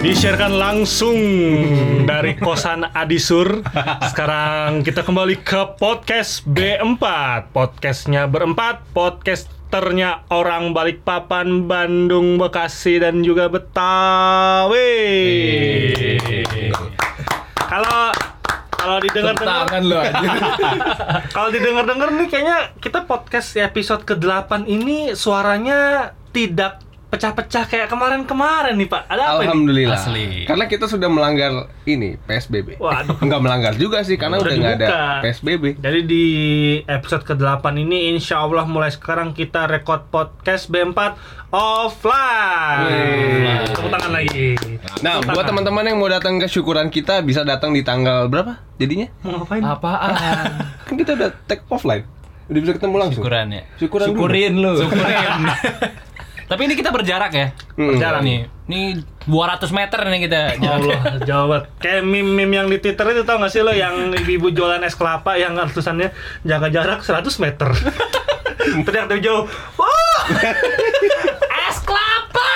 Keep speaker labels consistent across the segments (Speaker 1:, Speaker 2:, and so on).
Speaker 1: Di-sharekan langsung dari kosan Adisur. Sekarang kita kembali ke podcast B4. Podcastnya berempat, podcasternya orang Balikpapan, Bandung, Bekasi, dan juga Betawi.
Speaker 2: Iya.
Speaker 1: Kalau kalau didengar-dengar
Speaker 3: Tangan lo aja.
Speaker 1: kalau didengar-dengar nih kayaknya kita podcast episode ke-8 ini suaranya tidak pecah-pecah kayak kemarin-kemarin nih Pak. Ada apa ini?
Speaker 2: Alhamdulillah.
Speaker 3: Asli.
Speaker 2: Karena kita sudah melanggar ini PSBB.
Speaker 1: Waduh.
Speaker 2: Enggak melanggar juga sih karena
Speaker 1: Udah
Speaker 2: udah nggak ada
Speaker 1: dibuka.
Speaker 2: PSBB.
Speaker 1: Jadi di episode ke-8 ini insya Allah mulai sekarang kita rekod podcast B4 offline.
Speaker 3: Yeay.
Speaker 1: Tepuk tangan lagi.
Speaker 2: Nah, buat teman-teman yang mau datang ke syukuran kita bisa datang di tanggal berapa? Jadinya?
Speaker 1: Mau ngapain?
Speaker 3: Apaan?
Speaker 2: Kan kita udah take offline. Udah bisa ketemu langsung.
Speaker 3: Syukuran ya.
Speaker 2: Syukuran dulu.
Speaker 3: Syukurin lu. Syukurin. Tapi ini kita berjarak ya.
Speaker 2: Hmm.
Speaker 1: Berjalan.
Speaker 3: Nih, ini 200 meter nih kita.
Speaker 1: Ya
Speaker 3: jarak.
Speaker 1: Allah, Jawa Barat. Kayak meme-meme yang di Twitter itu tau gak sih lo yang ibu-ibu jualan es kelapa yang tulisannya jaga jarak 100 meter. Teriak dari jauh. Wah! es kelapa!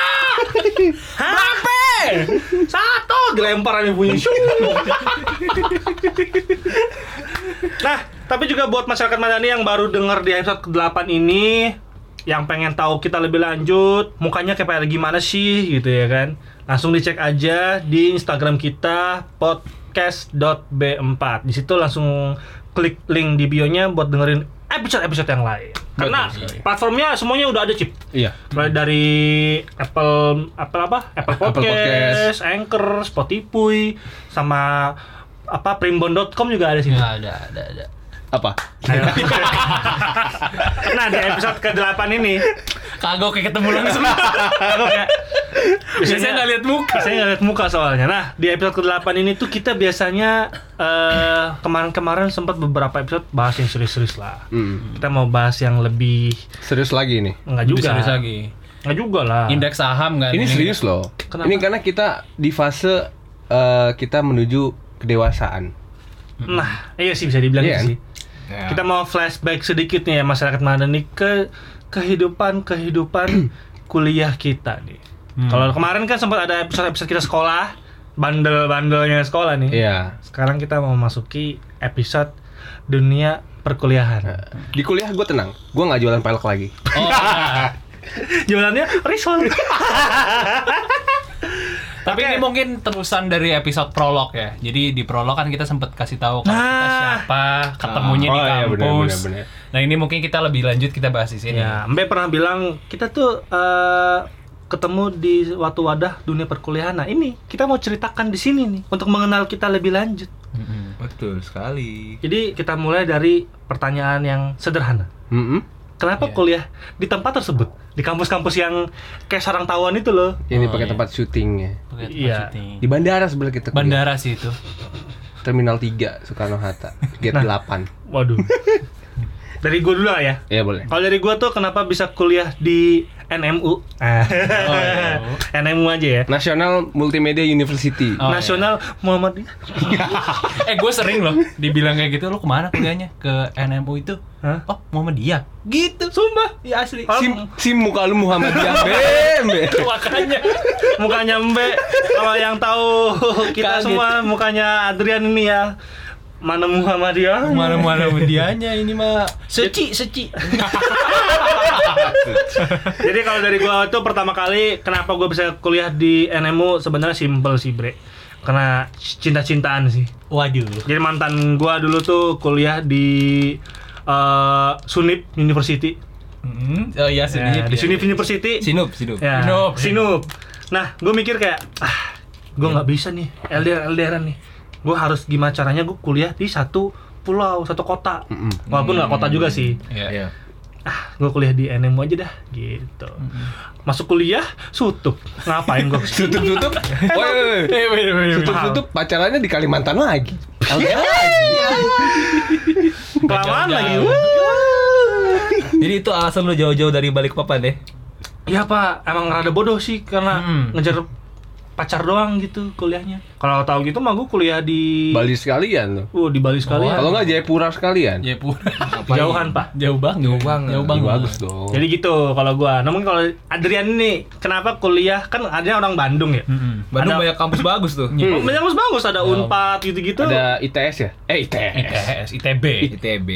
Speaker 1: Berapa? Satu dilempar aja bunyi syung. nah, tapi juga buat masyarakat Madani yang baru dengar di episode ke-8 ini yang pengen tahu kita lebih lanjut, mukanya kayak pada gimana sih gitu ya kan. Langsung dicek aja di Instagram kita podcast.b4. Di situ langsung klik link di bio-nya buat dengerin episode-episode yang lain. Karena
Speaker 3: Betul sekali.
Speaker 1: platformnya semuanya udah ada, Cip.
Speaker 2: Iya.
Speaker 1: Mulai dari Apple Apple apa? Apple
Speaker 2: Apple
Speaker 1: Podcast,
Speaker 2: Podcast.
Speaker 1: Anchor, Spotify, sama apa primbon.com juga ada sih.
Speaker 3: Ya, ada, ada, ada.
Speaker 2: Apa?
Speaker 1: Ayo. nah, di episode ke-8 ini
Speaker 3: Kagok kayak ketemu langsung. Biasanya nggak lihat muka.
Speaker 1: Biasanya nggak lihat muka soalnya. Nah, di episode ke-8 ini tuh kita biasanya eh, kemarin-kemarin sempat beberapa episode bahas yang serius-serius lah.
Speaker 2: Hmm.
Speaker 1: Kita mau bahas yang lebih
Speaker 2: Serius lagi nih.
Speaker 1: enggak juga.
Speaker 3: Bisa-bisa lagi.
Speaker 1: Enggak juga lah.
Speaker 3: Indeks saham
Speaker 2: Ah.
Speaker 3: kan.
Speaker 2: Ini serius loh.
Speaker 1: Kenapa?
Speaker 2: Ini karena kita di fase eh, kita menuju kedewasaan.
Speaker 3: Hmm.
Speaker 1: Nah, iya sih bisa dibilang itu
Speaker 2: Iya kan?
Speaker 1: sih. Kita mau flashback sedikit nih ya masyarakat Madani ke kehidupan kehidupan kuliah kita nih.
Speaker 2: Hmm.
Speaker 1: Kalau kemarin kan sempat ada episode-episode kita sekolah, bandel-bandelnya sekolah nih.
Speaker 2: Iya.
Speaker 1: Sekarang kita mau masuki episode dunia perkuliahan.
Speaker 2: Di kuliah gue tenang. Gue nggak jualan pelek lagi.
Speaker 3: Oh, nah.
Speaker 1: Jualannya risol.
Speaker 3: Tapi ini mungkin terusan dari episode prolog ya. Jadi di prolog kan kita sempat kasih tahu kalau kita
Speaker 1: Nah.
Speaker 3: siapa, ketemunya
Speaker 2: Oh,
Speaker 3: di
Speaker 2: iya,
Speaker 3: kampus.
Speaker 2: bener, bener, bener.
Speaker 3: Nah, ini mungkin kita lebih lanjut kita bahas di
Speaker 2: Iya.
Speaker 3: sini.
Speaker 1: ya, Mbe pernah bilang kita tuh eh, ketemu di suatu wadah dunia perkuliahan. Nah, ini kita mau ceritakan di sini nih untuk mengenal kita lebih lanjut.
Speaker 3: Mm-mm.
Speaker 4: Betul sekali.
Speaker 1: Jadi kita mulai dari pertanyaan yang sederhana.
Speaker 2: Mm-mm.
Speaker 1: Kenapa
Speaker 3: Iya.
Speaker 1: kuliah di tempat tersebut? Di kampus-kampus yang kayak sarang tawon itu loh.
Speaker 2: Ini
Speaker 3: Oh,
Speaker 2: pakai
Speaker 3: iya.
Speaker 2: tempat syutingnya.
Speaker 3: Pakai tempat
Speaker 1: Iya.
Speaker 3: syuting.
Speaker 2: Di bandara sebelah kita. kuliah.
Speaker 3: Bandara sih itu.
Speaker 2: Terminal 3 Soekarno Hatta. Gate
Speaker 1: Nah.
Speaker 2: 8.
Speaker 1: Waduh. dari gua dulu lah ya.
Speaker 2: Iya boleh.
Speaker 3: Nah.
Speaker 1: Kalau dari gua tuh kenapa bisa kuliah di NMU? Ah.
Speaker 3: iya.
Speaker 1: NMU aja ya.
Speaker 2: National Multimedia University.
Speaker 3: Oh, iya.
Speaker 1: Nasional Muhammadiyah.
Speaker 3: Eh, gue sering loh dibilang kayak gitu, lu kemana kuliahnya? Ke NMU itu.
Speaker 1: Hah?
Speaker 3: Oh, Muhammadiyah. Gitu. Sumpah. Ya asli.
Speaker 1: Oh.
Speaker 2: Sim, sim muka lu Muhammad Jambe. Mbe.
Speaker 3: Oh, Makanya.
Speaker 1: mukanya Mbe kalau yang tahu kita
Speaker 3: Kaget.
Speaker 1: semua mukanya Adrian ini ya. Mana Muhammadiyah?
Speaker 3: Mana-mana Muhammadiyahnya ini mah. Seci, seci.
Speaker 1: Jadi kalau dari gua itu pertama kali kenapa gua bisa kuliah di NMU sebenarnya simple sih, Bre. Karena cinta-cintaan sih.
Speaker 3: Waduh.
Speaker 1: Jadi mantan gua dulu tuh kuliah di eh, Sunip University.
Speaker 3: Mm-mm. Oh iya,
Speaker 1: Ya,
Speaker 3: sini.
Speaker 1: di Sunip University.
Speaker 4: Sinup, sinup.
Speaker 1: Ya,
Speaker 3: Sinup.
Speaker 1: Sinup. Nah, gue mikir kayak ah, gue nggak bisa nih LDR LDRan nih. Gue harus gimana caranya gue kuliah di satu pulau, satu kota.
Speaker 2: Mm-mm.
Speaker 1: Walaupun nggak kota juga sih.
Speaker 3: Iya.
Speaker 1: Ah, gue kuliah di NMU aja dah gitu. Masuk kuliah, sutup. Ngapain gue?
Speaker 2: Tutup-tutup. Woi, woi, woi.
Speaker 3: Eh, wait, wait, wait.
Speaker 2: Tutup-tutup pacarannya di Kalimantan lagi.
Speaker 3: Oh,
Speaker 2: Iya. LDR lagi.
Speaker 1: Kelamaan lagi.
Speaker 3: Jauh-jauh.
Speaker 1: Wuh.
Speaker 4: Jadi itu alasan lu jauh-jauh dari balik papan deh.
Speaker 1: Ya Pak, emang rada bodoh sih karena
Speaker 3: Hmm.
Speaker 1: ngejar pacar doang gitu kuliahnya. Kalau tahu gitu mah gue kuliah di
Speaker 2: Bali sekalian tuh.
Speaker 1: Oh, di Bali sekali.
Speaker 2: Kalau nggak Jayapura sekalian.
Speaker 3: Jayapura.
Speaker 1: jauhan, Pak.
Speaker 3: Jauh banget.
Speaker 4: Jauh banget.
Speaker 3: Jauh
Speaker 2: Ih,
Speaker 3: banget.
Speaker 2: bagus dong.
Speaker 1: Jadi gitu kalau gua. Namun kalau Adrian ini kenapa kuliah kan ada orang Bandung ya?
Speaker 3: Mm-mm.
Speaker 4: Bandung
Speaker 1: Ada-
Speaker 4: banyak kampus bagus tuh.
Speaker 1: Oh, Banyak bagus ada Unpad gitu-gitu.
Speaker 2: Ada ITS ya? Eh ITS.
Speaker 3: ITS, ITB.
Speaker 4: ITB.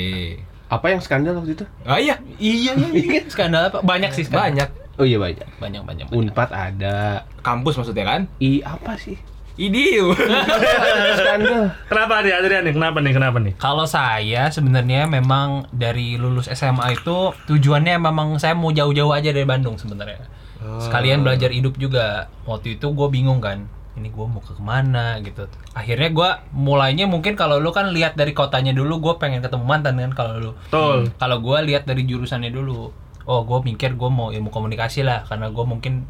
Speaker 2: Apa yang skandal waktu itu?
Speaker 4: Ah iya,
Speaker 3: Iya, iya, iya. Skandal apa? Banyak sih skandal.
Speaker 4: banyak
Speaker 2: Oh iya banyak.
Speaker 3: Banyak, banyak. banyak.
Speaker 2: Unpad ada.
Speaker 4: kampus maksudnya kan?
Speaker 2: I apa sih?
Speaker 4: Idiu.
Speaker 2: Skandal.
Speaker 1: Kenapa nih Adrian nih? Kenapa nih? Kenapa nih?
Speaker 3: Kalau saya sebenarnya memang dari lulus SMA itu tujuannya memang saya mau jauh-jauh aja dari Bandung sebenarnya. Sekalian belajar hidup juga. Waktu itu gue bingung kan, ini gue mau ke kemana gitu. Akhirnya gue mulainya mungkin kalau lu kan lihat dari kotanya dulu, gue pengen ketemu mantan kan kalau lu.
Speaker 1: Betul.
Speaker 3: Kalau gue lihat dari jurusannya dulu, oh gue mikir gue mau ilmu komunikasi lah, karena gue mungkin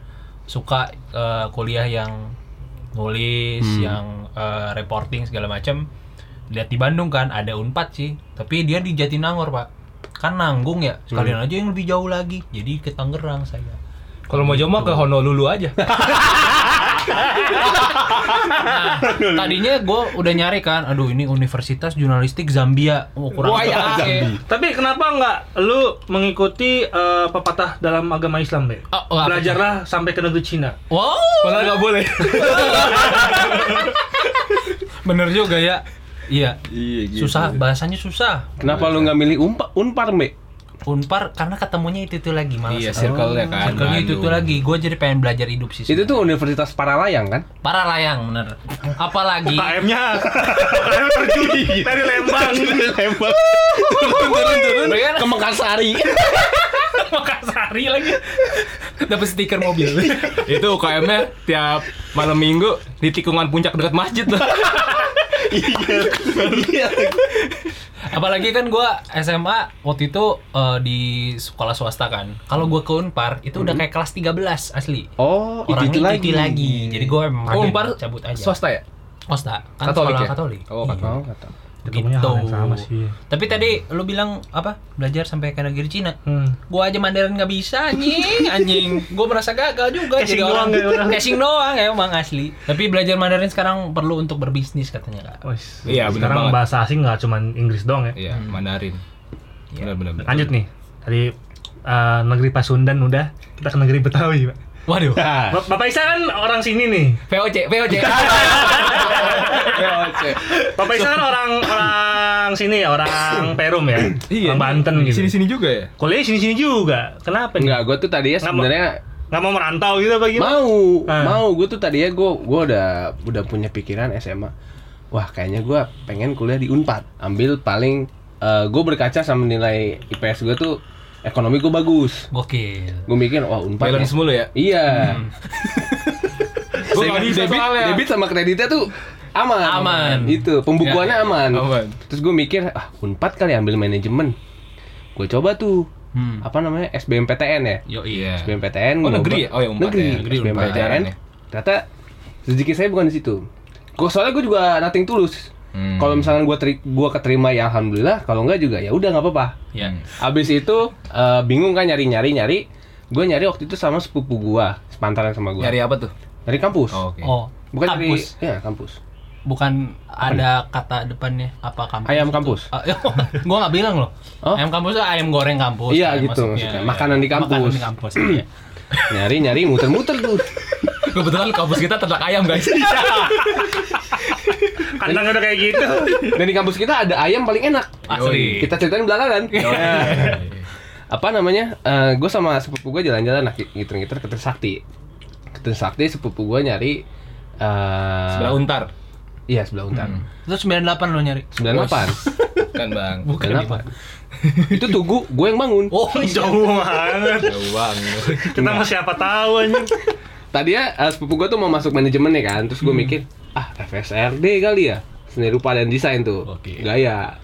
Speaker 3: suka eh, kuliah yang nulis,
Speaker 4: Hmm.
Speaker 3: yang eh, reporting segala macam. Lihat di Bandung kan ada Unpad sih, tapi dia di Jatinangor pak, kan nanggung ya. Sekalian aja yang lebih jauh lagi, jadi ke Tangerang saya.
Speaker 4: Hmm.
Speaker 3: Gitu.
Speaker 4: Kalau mau jauh mah ke Honolulu aja.
Speaker 3: Nah, tadinya gue udah nyari kan, aduh ini Universitas Jurnalistik Zambia, oh, kurang
Speaker 4: Wah, ya,
Speaker 3: tepat ya.
Speaker 1: Tapi kenapa nggak lu mengikuti eh, pepatah dalam agama Islam deh?
Speaker 3: Oh, oh, apa
Speaker 1: Belajarlah sampai ke negeri Cina.
Speaker 3: Wow,
Speaker 4: Padahal nggak boleh.
Speaker 3: bener juga ya. Iya,
Speaker 2: Iya
Speaker 3: susah bahasanya susah
Speaker 2: Kenapa lu nggak milih Unpad? Unpad, Me?
Speaker 3: unpar karena ketemunya itu itu lagi malas
Speaker 4: Iya, circle-nya kan.
Speaker 3: circle-nya itu itu
Speaker 4: Bandung.
Speaker 3: lagi gue jadi pengen belajar hidup sih
Speaker 2: Itu tuh Universitas Paralayang kan?
Speaker 3: para layang bener apalagi
Speaker 1: KM-nya KM terjun dari Lembang.
Speaker 2: Lembang. Turun-turun ke Mekarsari.
Speaker 3: Makassari lagi dapat stiker mobil
Speaker 4: Itu UKM-nya tiap malam minggu di tikungan puncak dekat masjid tuh.
Speaker 3: apalagi kan gue SMA waktu itu eh, di sekolah swasta kan kalau gue ke unpar itu udah kayak kelas 13 asli
Speaker 2: Oh,
Speaker 3: Orangnya
Speaker 2: itu, itu lagi.
Speaker 3: lagi. jadi gue emang
Speaker 4: Oh,
Speaker 3: kaget,
Speaker 4: Unpar
Speaker 3: cabut aja
Speaker 4: Swasta ya?
Speaker 3: swasta kan
Speaker 4: Katolik
Speaker 3: sekolah
Speaker 4: ya?
Speaker 3: katolik
Speaker 4: Oh,
Speaker 3: Iya.
Speaker 4: Katolik.
Speaker 2: Oh, nggak tahu.
Speaker 1: Ketemunya hal yang sama sih.
Speaker 3: Tapi tadi lu bilang apa? Belajar sampai ke negeri Cina.
Speaker 1: Hmm.
Speaker 3: Gua aja Mandarin nggak bisa anjing, anjing. Gua merasa gagal juga
Speaker 1: Casing doang ya, udah.
Speaker 3: Casing doang emang asli. Tapi belajar Mandarin sekarang perlu untuk berbisnis katanya, Kak.
Speaker 1: Wes,
Speaker 4: Iya, bener
Speaker 1: Sekarang
Speaker 4: banget.
Speaker 1: bahasa asing nggak cuman Inggris doang ya.
Speaker 4: Iya, Mandarin.
Speaker 3: Iya.
Speaker 4: Benar-benar.
Speaker 1: Lanjut nih. Tadi eh, negeri Pasundan udah, kita ke negeri Betawi, Pak.
Speaker 3: Waduh.
Speaker 2: Ah,
Speaker 1: Bap- Bapak Isa kan orang sini nih.
Speaker 3: VOC, VOC.
Speaker 4: Iya,
Speaker 2: VOC.
Speaker 1: Bapak Isa kan orang orang sini ya, orang Perum ya, orang Banten gitu.
Speaker 4: Iya. Sini-sini juga ya?
Speaker 1: Kuliah sini-sini juga. Kenapa nih?
Speaker 2: Enggak, gue tuh tadinya
Speaker 1: Kenapa?
Speaker 2: sebenarnya
Speaker 1: Nggak mau merantau gitu apa gimana?
Speaker 2: mau
Speaker 1: Ah.
Speaker 2: mau gue tuh tadinya gue gue udah udah punya pikiran SMA wah kayaknya gue pengen kuliah di Unpad ambil paling gue berkaca sama nilai IPS gue tuh ekonomi gue bagus
Speaker 3: Gokil.
Speaker 2: gue mikir wah Unpad
Speaker 4: Balance
Speaker 2: ya.
Speaker 4: mulu ya?
Speaker 2: iya
Speaker 4: Gua nggak bisa
Speaker 2: debit
Speaker 4: soalnya.
Speaker 2: debit sama kreditnya tuh aman
Speaker 3: Aman.
Speaker 2: itu pembukuannya
Speaker 4: Ya,
Speaker 2: aman.
Speaker 4: aman.
Speaker 2: terus gue mikir ah Unpad kali ambil manajemen gue coba tuh
Speaker 3: Hmm.
Speaker 2: apa namanya SBMPTN ya
Speaker 3: Yo
Speaker 4: Iya.
Speaker 2: SBMPTN
Speaker 4: Oh,
Speaker 2: gua obat.
Speaker 4: negeri ya? Oh, yang empat
Speaker 2: negeri,
Speaker 4: ya. Negeri
Speaker 2: SBMPTN.
Speaker 4: empat ya, kan ya?
Speaker 2: ternyata rezeki saya bukan di situ gua soalnya gue juga nothing tulus
Speaker 4: Hmm.
Speaker 2: kalau misalkan gue teri gua keterima ya alhamdulillah kalau enggak juga ya udah nggak apa-apa
Speaker 3: Ya.
Speaker 4: Hmm.
Speaker 2: abis itu eh, bingung kan nyari nyari nyari gue nyari waktu itu sama sepupu gua sepantaran sama gua
Speaker 4: Nyari apa tuh?
Speaker 2: dari kampus
Speaker 4: Oh, Oke.
Speaker 3: Oh,
Speaker 2: bukan
Speaker 3: kampus.
Speaker 2: dari ya kampus
Speaker 3: Bukan ada kata depannya apa kampus?
Speaker 2: Ayam
Speaker 3: itu?
Speaker 2: kampus.
Speaker 3: Ah, iya. gua nggak bilang loh.
Speaker 2: Oh?
Speaker 3: Ayam kampus tuh ayam goreng kampus.
Speaker 2: Iya,
Speaker 3: kan,
Speaker 2: gitu maksudnya. Makanan di kampus.
Speaker 3: Makanan di kampus. iya.
Speaker 2: nyari nyari muter muter tuh
Speaker 4: Kebetulan kampus kita ternak ayam, guys.
Speaker 1: Kandang udah kayak gitu.
Speaker 2: dan di kampus kita ada ayam paling enak
Speaker 3: Asli.
Speaker 2: kita ceritain belakangan apa namanya gue sama sepupu gue jalan-jalan nah ngiter-ngiter ke Trisakti ke Trisakti sepupu gue nyari eh
Speaker 4: Sebelah untar.
Speaker 2: iya sebelah Untar
Speaker 3: Terus 98 lo nyari.
Speaker 2: 98
Speaker 4: Kan, Bang.
Speaker 3: Bukan
Speaker 2: 98 itu tugu gue yang bangun
Speaker 3: Oh,
Speaker 1: Jauh banget.
Speaker 4: Jauh banget.
Speaker 1: Kita mau siapa tahu anjing.
Speaker 2: tadinya eh, sepupu gue tuh mau masuk manajemen ya kan terus gue mikir ah FSRD kali ya seni rupa dan desain tuh
Speaker 3: Oke.
Speaker 2: gaya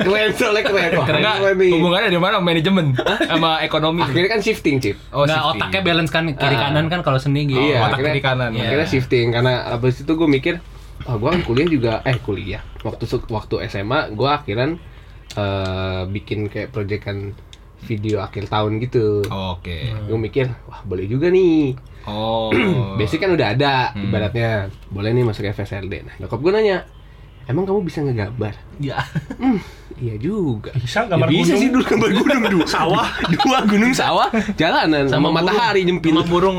Speaker 2: keren soalnya keren Wah,
Speaker 4: Karena
Speaker 2: keren nih.
Speaker 4: hubungannya di mana manajemen sama ekonomi? tuh?
Speaker 2: akhirnya kan shifting chip
Speaker 4: Oh,
Speaker 3: nah,
Speaker 4: shifting.
Speaker 3: otaknya balance kan kiri
Speaker 2: Ah.
Speaker 3: kanan kan kalau seni gitu.
Speaker 2: iya,
Speaker 4: otak
Speaker 2: akhirnya-
Speaker 4: kiri kanan.
Speaker 2: Akhirnya
Speaker 3: Iya.
Speaker 2: shifting karena abis itu gue mikir, oh gue kan kuliah juga, eh kuliah. Waktu su- waktu SMA gue akhiran eh, bikin kayak proyekan video akhir tahun gitu.
Speaker 4: Oh. Oke.
Speaker 2: Gue mikir, wah boleh juga nih.
Speaker 4: Oh.
Speaker 2: Basic kan udah ada
Speaker 4: Hmm.
Speaker 2: ibaratnya. Boleh nih masuk FSRD. Nah, nyokap gue nanya, "Emang kamu bisa ngegambar?"
Speaker 3: Ya.
Speaker 2: Hmm, iya juga.
Speaker 1: Bisa
Speaker 2: Ya,
Speaker 1: gambar
Speaker 2: bisa
Speaker 1: gunung,
Speaker 2: sih dulu gambar gunung dua.
Speaker 1: sawah.
Speaker 2: dua gunung sawah jalanan sama,
Speaker 3: burung.
Speaker 2: matahari nyempil.
Speaker 3: Sama burung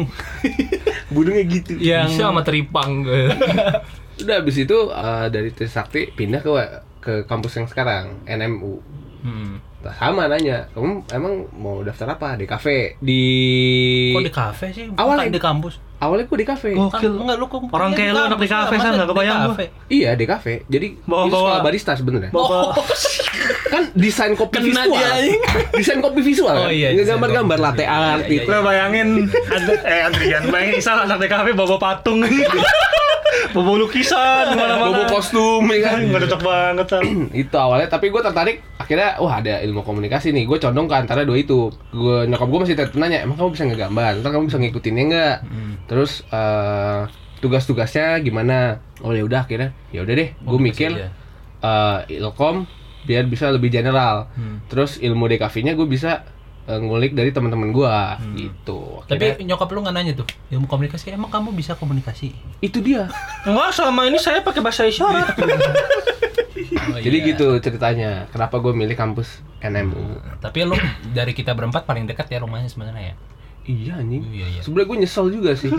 Speaker 2: Burungnya gitu.
Speaker 3: yang
Speaker 4: Bisa sama teripang gue.
Speaker 2: Udah habis itu eh, dari Trisakti pindah ke ke kampus yang sekarang NMU.
Speaker 4: Hmm.
Speaker 2: Nah, sama nanya, kamu emang mau daftar apa? Di kafe. Di
Speaker 3: kok di kafe sih?
Speaker 2: Awalnya-
Speaker 3: Bukan di kampus.
Speaker 2: awalnya gue di kafe.
Speaker 1: Gokil.
Speaker 3: Kan, enggak lu kok
Speaker 1: Orang kayak lu anak di kafe, San, nggak kebayang gua.
Speaker 2: Iya, di kafe. Jadi
Speaker 1: Bawa-
Speaker 2: itu sekolah
Speaker 1: bawa-
Speaker 2: barista sebenarnya.
Speaker 1: Bawa
Speaker 2: Kan desain kopi
Speaker 3: Kena
Speaker 2: visual.
Speaker 3: dia, anjing.
Speaker 2: desain kopi visual.
Speaker 3: Oh, iya, desain
Speaker 2: gambar-gambar
Speaker 3: kopi.
Speaker 2: latte
Speaker 3: Iya, iya,
Speaker 2: art
Speaker 3: iya,
Speaker 2: itu.
Speaker 1: Lo bayangin Andre, eh Andrian, bayangin Isan anak DKV bawa patung Bawa lukisan
Speaker 3: iya.
Speaker 2: Bobo
Speaker 1: kemana-mana
Speaker 2: kostum ya kan.
Speaker 1: Nggak cocok banget San.
Speaker 2: itu awalnya tapi gue tertarik akhirnya wah ada ilmu komunikasi nih gue condong ke antara dua itu gue nyokap gue masih tetap nanya emang kamu bisa ngegambar ntar kamu bisa ngikutinnya nggak
Speaker 3: Hmm.
Speaker 2: terus eh, tugas-tugasnya gimana oh ya udah akhirnya ya udah deh gue mikir
Speaker 3: Komunikasi Oh, gitu aja.
Speaker 2: eh, ilkom biar bisa lebih general
Speaker 3: Hmm.
Speaker 2: terus ilmu DKV-nya gue bisa eh, ngulik dari teman-teman gue gitu Akhirnya,
Speaker 3: Hmm. Tapi nyokap lu nggak nanya tuh ilmu komunikasi. Emang kamu bisa komunikasi?
Speaker 2: itu dia
Speaker 1: Enggak, selama ini saya pakai bahasa isyarat
Speaker 3: Oh,
Speaker 2: jadi
Speaker 3: iya.
Speaker 2: gitu ceritanya kenapa gue milih kampus NMU
Speaker 3: Tapi lu dari kita berempat paling dekat ya rumahnya sebenarnya ya.
Speaker 2: Iya anjing.
Speaker 3: Iya, iya.
Speaker 2: Sebenarnya gue nyesel juga sih.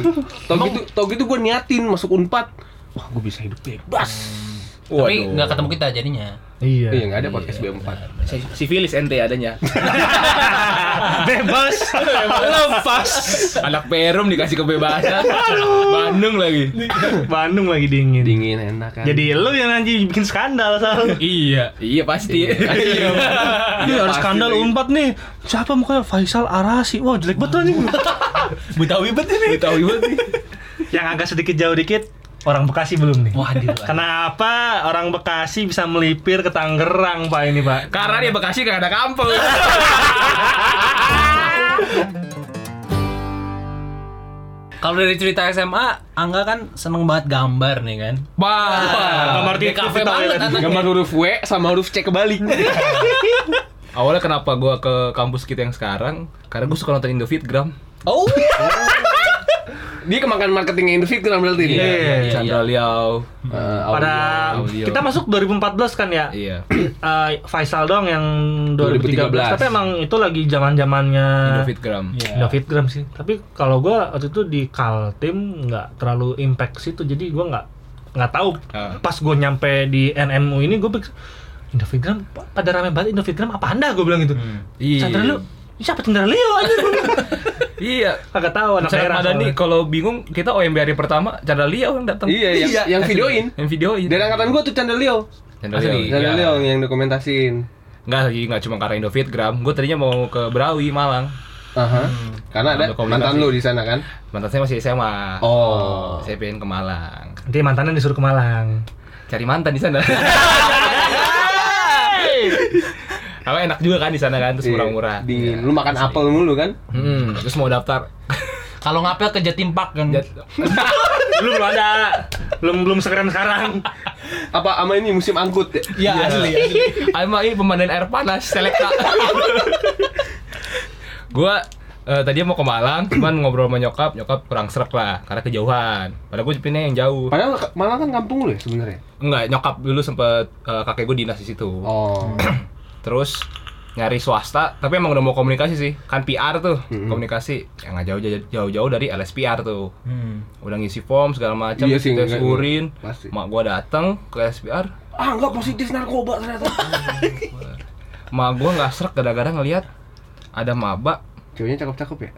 Speaker 2: tau gitu, tau gitu gue niatin masuk Unpad. Wah, gue bisa hidup bebas.
Speaker 3: Tapi nggak ketemu kita jadinya.
Speaker 2: Iya,
Speaker 1: Iya
Speaker 2: nggak ada podcast B4.
Speaker 5: Si- Sifilis ente adanya.
Speaker 1: Bebas Lepas
Speaker 4: Anak Perum dikasih kebebasan. Bandung lagi.
Speaker 1: Bandung lagi dingin
Speaker 2: Dingin enak kan.
Speaker 1: Jadi lu yang nanti bikin skandal Sal
Speaker 4: Iya.
Speaker 5: Iya pasti.
Speaker 1: Iya, harus skandal umpat nih Siapa mukanya? Faisal Arasi Wah, jelek banget nih
Speaker 3: Betawi banget ini. Betawi banget nih.
Speaker 1: Yang agak sedikit jauh dikit Orang Bekasi belum nih
Speaker 3: Waduh.
Speaker 1: Kenapa orang Bekasi bisa melipir ke Tangerang Pak ini Pak?
Speaker 4: Karena dia Bekasi gak ada kampus.
Speaker 3: Kalau dari cerita SMA, Angga kan seneng banget gambar nih kan.
Speaker 4: Wah.
Speaker 1: Gambar
Speaker 3: di
Speaker 1: titik
Speaker 3: kafe
Speaker 1: kita
Speaker 4: ya
Speaker 3: banget
Speaker 4: kan?
Speaker 1: lihat.
Speaker 3: anaknya.
Speaker 2: Gambar huruf W sama huruf C kebalik.
Speaker 4: Awalnya kenapa gua ke kampus kita yang sekarang? Karena gua suka nonton Indofitgram.
Speaker 3: Oh.
Speaker 2: Dia kemakan marketingnya Indofit kan berarti ini.
Speaker 1: Iya.
Speaker 4: Chandra Liao.
Speaker 2: Eh,
Speaker 1: Pada
Speaker 4: audio.
Speaker 1: kita masuk 2014 kan ya?
Speaker 4: Iya.
Speaker 1: Eh, Faisal dong yang 2013.
Speaker 2: 2013.
Speaker 1: Tapi emang itu lagi zaman-zamannya
Speaker 4: Indofitgram.
Speaker 3: Iya.
Speaker 1: David Graham sih. Tapi kalau gua waktu itu di Kaltim nggak terlalu impact situ jadi gua nggak nggak tahu.
Speaker 4: Ah.
Speaker 1: Pas gua nyampe di NMU ini gua pikir Indovigram pada rame banget Indovigram apa anda gua bilang gitu.
Speaker 4: Iya.
Speaker 1: Chandra Leo, siapa Chandra Leo aja?
Speaker 4: Iya.
Speaker 1: Kagak tahu Oh, anak
Speaker 4: Misalnya
Speaker 1: daerah.
Speaker 4: Madani
Speaker 1: soalnya.
Speaker 4: kalau bingung kita OMB hari pertama Chandra Liao yang datang.
Speaker 2: Iya, yang, yang videoin.
Speaker 4: Yang videoin.
Speaker 2: Dari angkatan gue tuh Chandra Leo.
Speaker 4: Chandra Liao.
Speaker 2: Chandra
Speaker 4: iya.
Speaker 2: Leo yang dokumentasin.
Speaker 4: Nggak lagi nggak cuma karena Indofitgram. Gue tadinya mau ke Berawi Malang.
Speaker 2: Aha. Karena ada
Speaker 4: Ada Ah. komunikasi.
Speaker 2: mantan lu di sana kan?
Speaker 4: Mantan saya masih SMA.
Speaker 2: Oh.
Speaker 4: Saya pengen ke Malang.
Speaker 1: Nanti mantannya disuruh ke Malang.
Speaker 4: Cari mantan di sana. Apa enak juga kan di sana kan terus
Speaker 2: Iya.
Speaker 4: murah-murah.
Speaker 2: Dingin. Lu makan apel mulu kan?
Speaker 4: Hmm, terus mau daftar.
Speaker 3: Kalau ngapel ke Jatim Park kan.
Speaker 1: belum belum ada. Belum belum sekeren sekarang.
Speaker 2: Apa ama ini musim angkut ya?
Speaker 3: Iya asli. asli.
Speaker 4: Ama ini pemandian air panas selekta. gua eh, tadi mau ke Malang, cuman ngobrol sama nyokap, nyokap kurang serak lah karena kejauhan. Padahal gue pinginnya yang jauh.
Speaker 2: Padahal malah kan kampung lu ya sebenarnya.
Speaker 4: Enggak, nyokap dulu sempet eh, kakek gue dinas di situ.
Speaker 2: Oh.
Speaker 4: Terus nyari swasta, tapi emang udah mau komunikasi sih. Kan PR tuh, komunikasi. Ya nggak jauh- jauh-jauh dari LSPR tuh.
Speaker 3: Hmm.
Speaker 4: Udah ngisi form segala macam,
Speaker 2: Iya sih,
Speaker 4: tes
Speaker 2: nggak-
Speaker 4: urin.
Speaker 2: pasti.
Speaker 4: Mak gua datang ke LSPR,
Speaker 2: Ah, enggak positif narkoba ternyata.
Speaker 4: mak gua nggak serak gara-gara ngelihat ada maba
Speaker 2: Ceweknya cakep-cakep ya?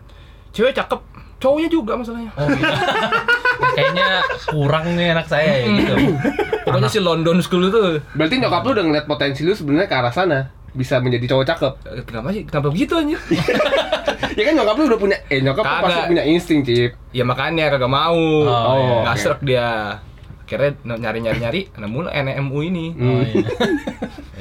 Speaker 4: cewek cakep cowoknya juga masalahnya
Speaker 3: Oh, iya. Kayaknya kurang nih anak saya ya gitu.
Speaker 4: pokoknya si London School itu
Speaker 2: Berarti nyokap lu udah ngeliat potensi lu sebenarnya ke arah sana bisa menjadi cowok cakep.
Speaker 4: eh, kenapa sih kenapa begitu anjir
Speaker 2: Ya kan nyokap lu udah punya eh nyokap lu
Speaker 4: Kagak.
Speaker 2: pasti punya insting, Cip.
Speaker 4: ya makanya kagak mau
Speaker 3: Oh,
Speaker 4: nggak
Speaker 2: iya.
Speaker 4: serak dia akhirnya nyari nyari nyari nemu NMU ini
Speaker 3: Oh, iya.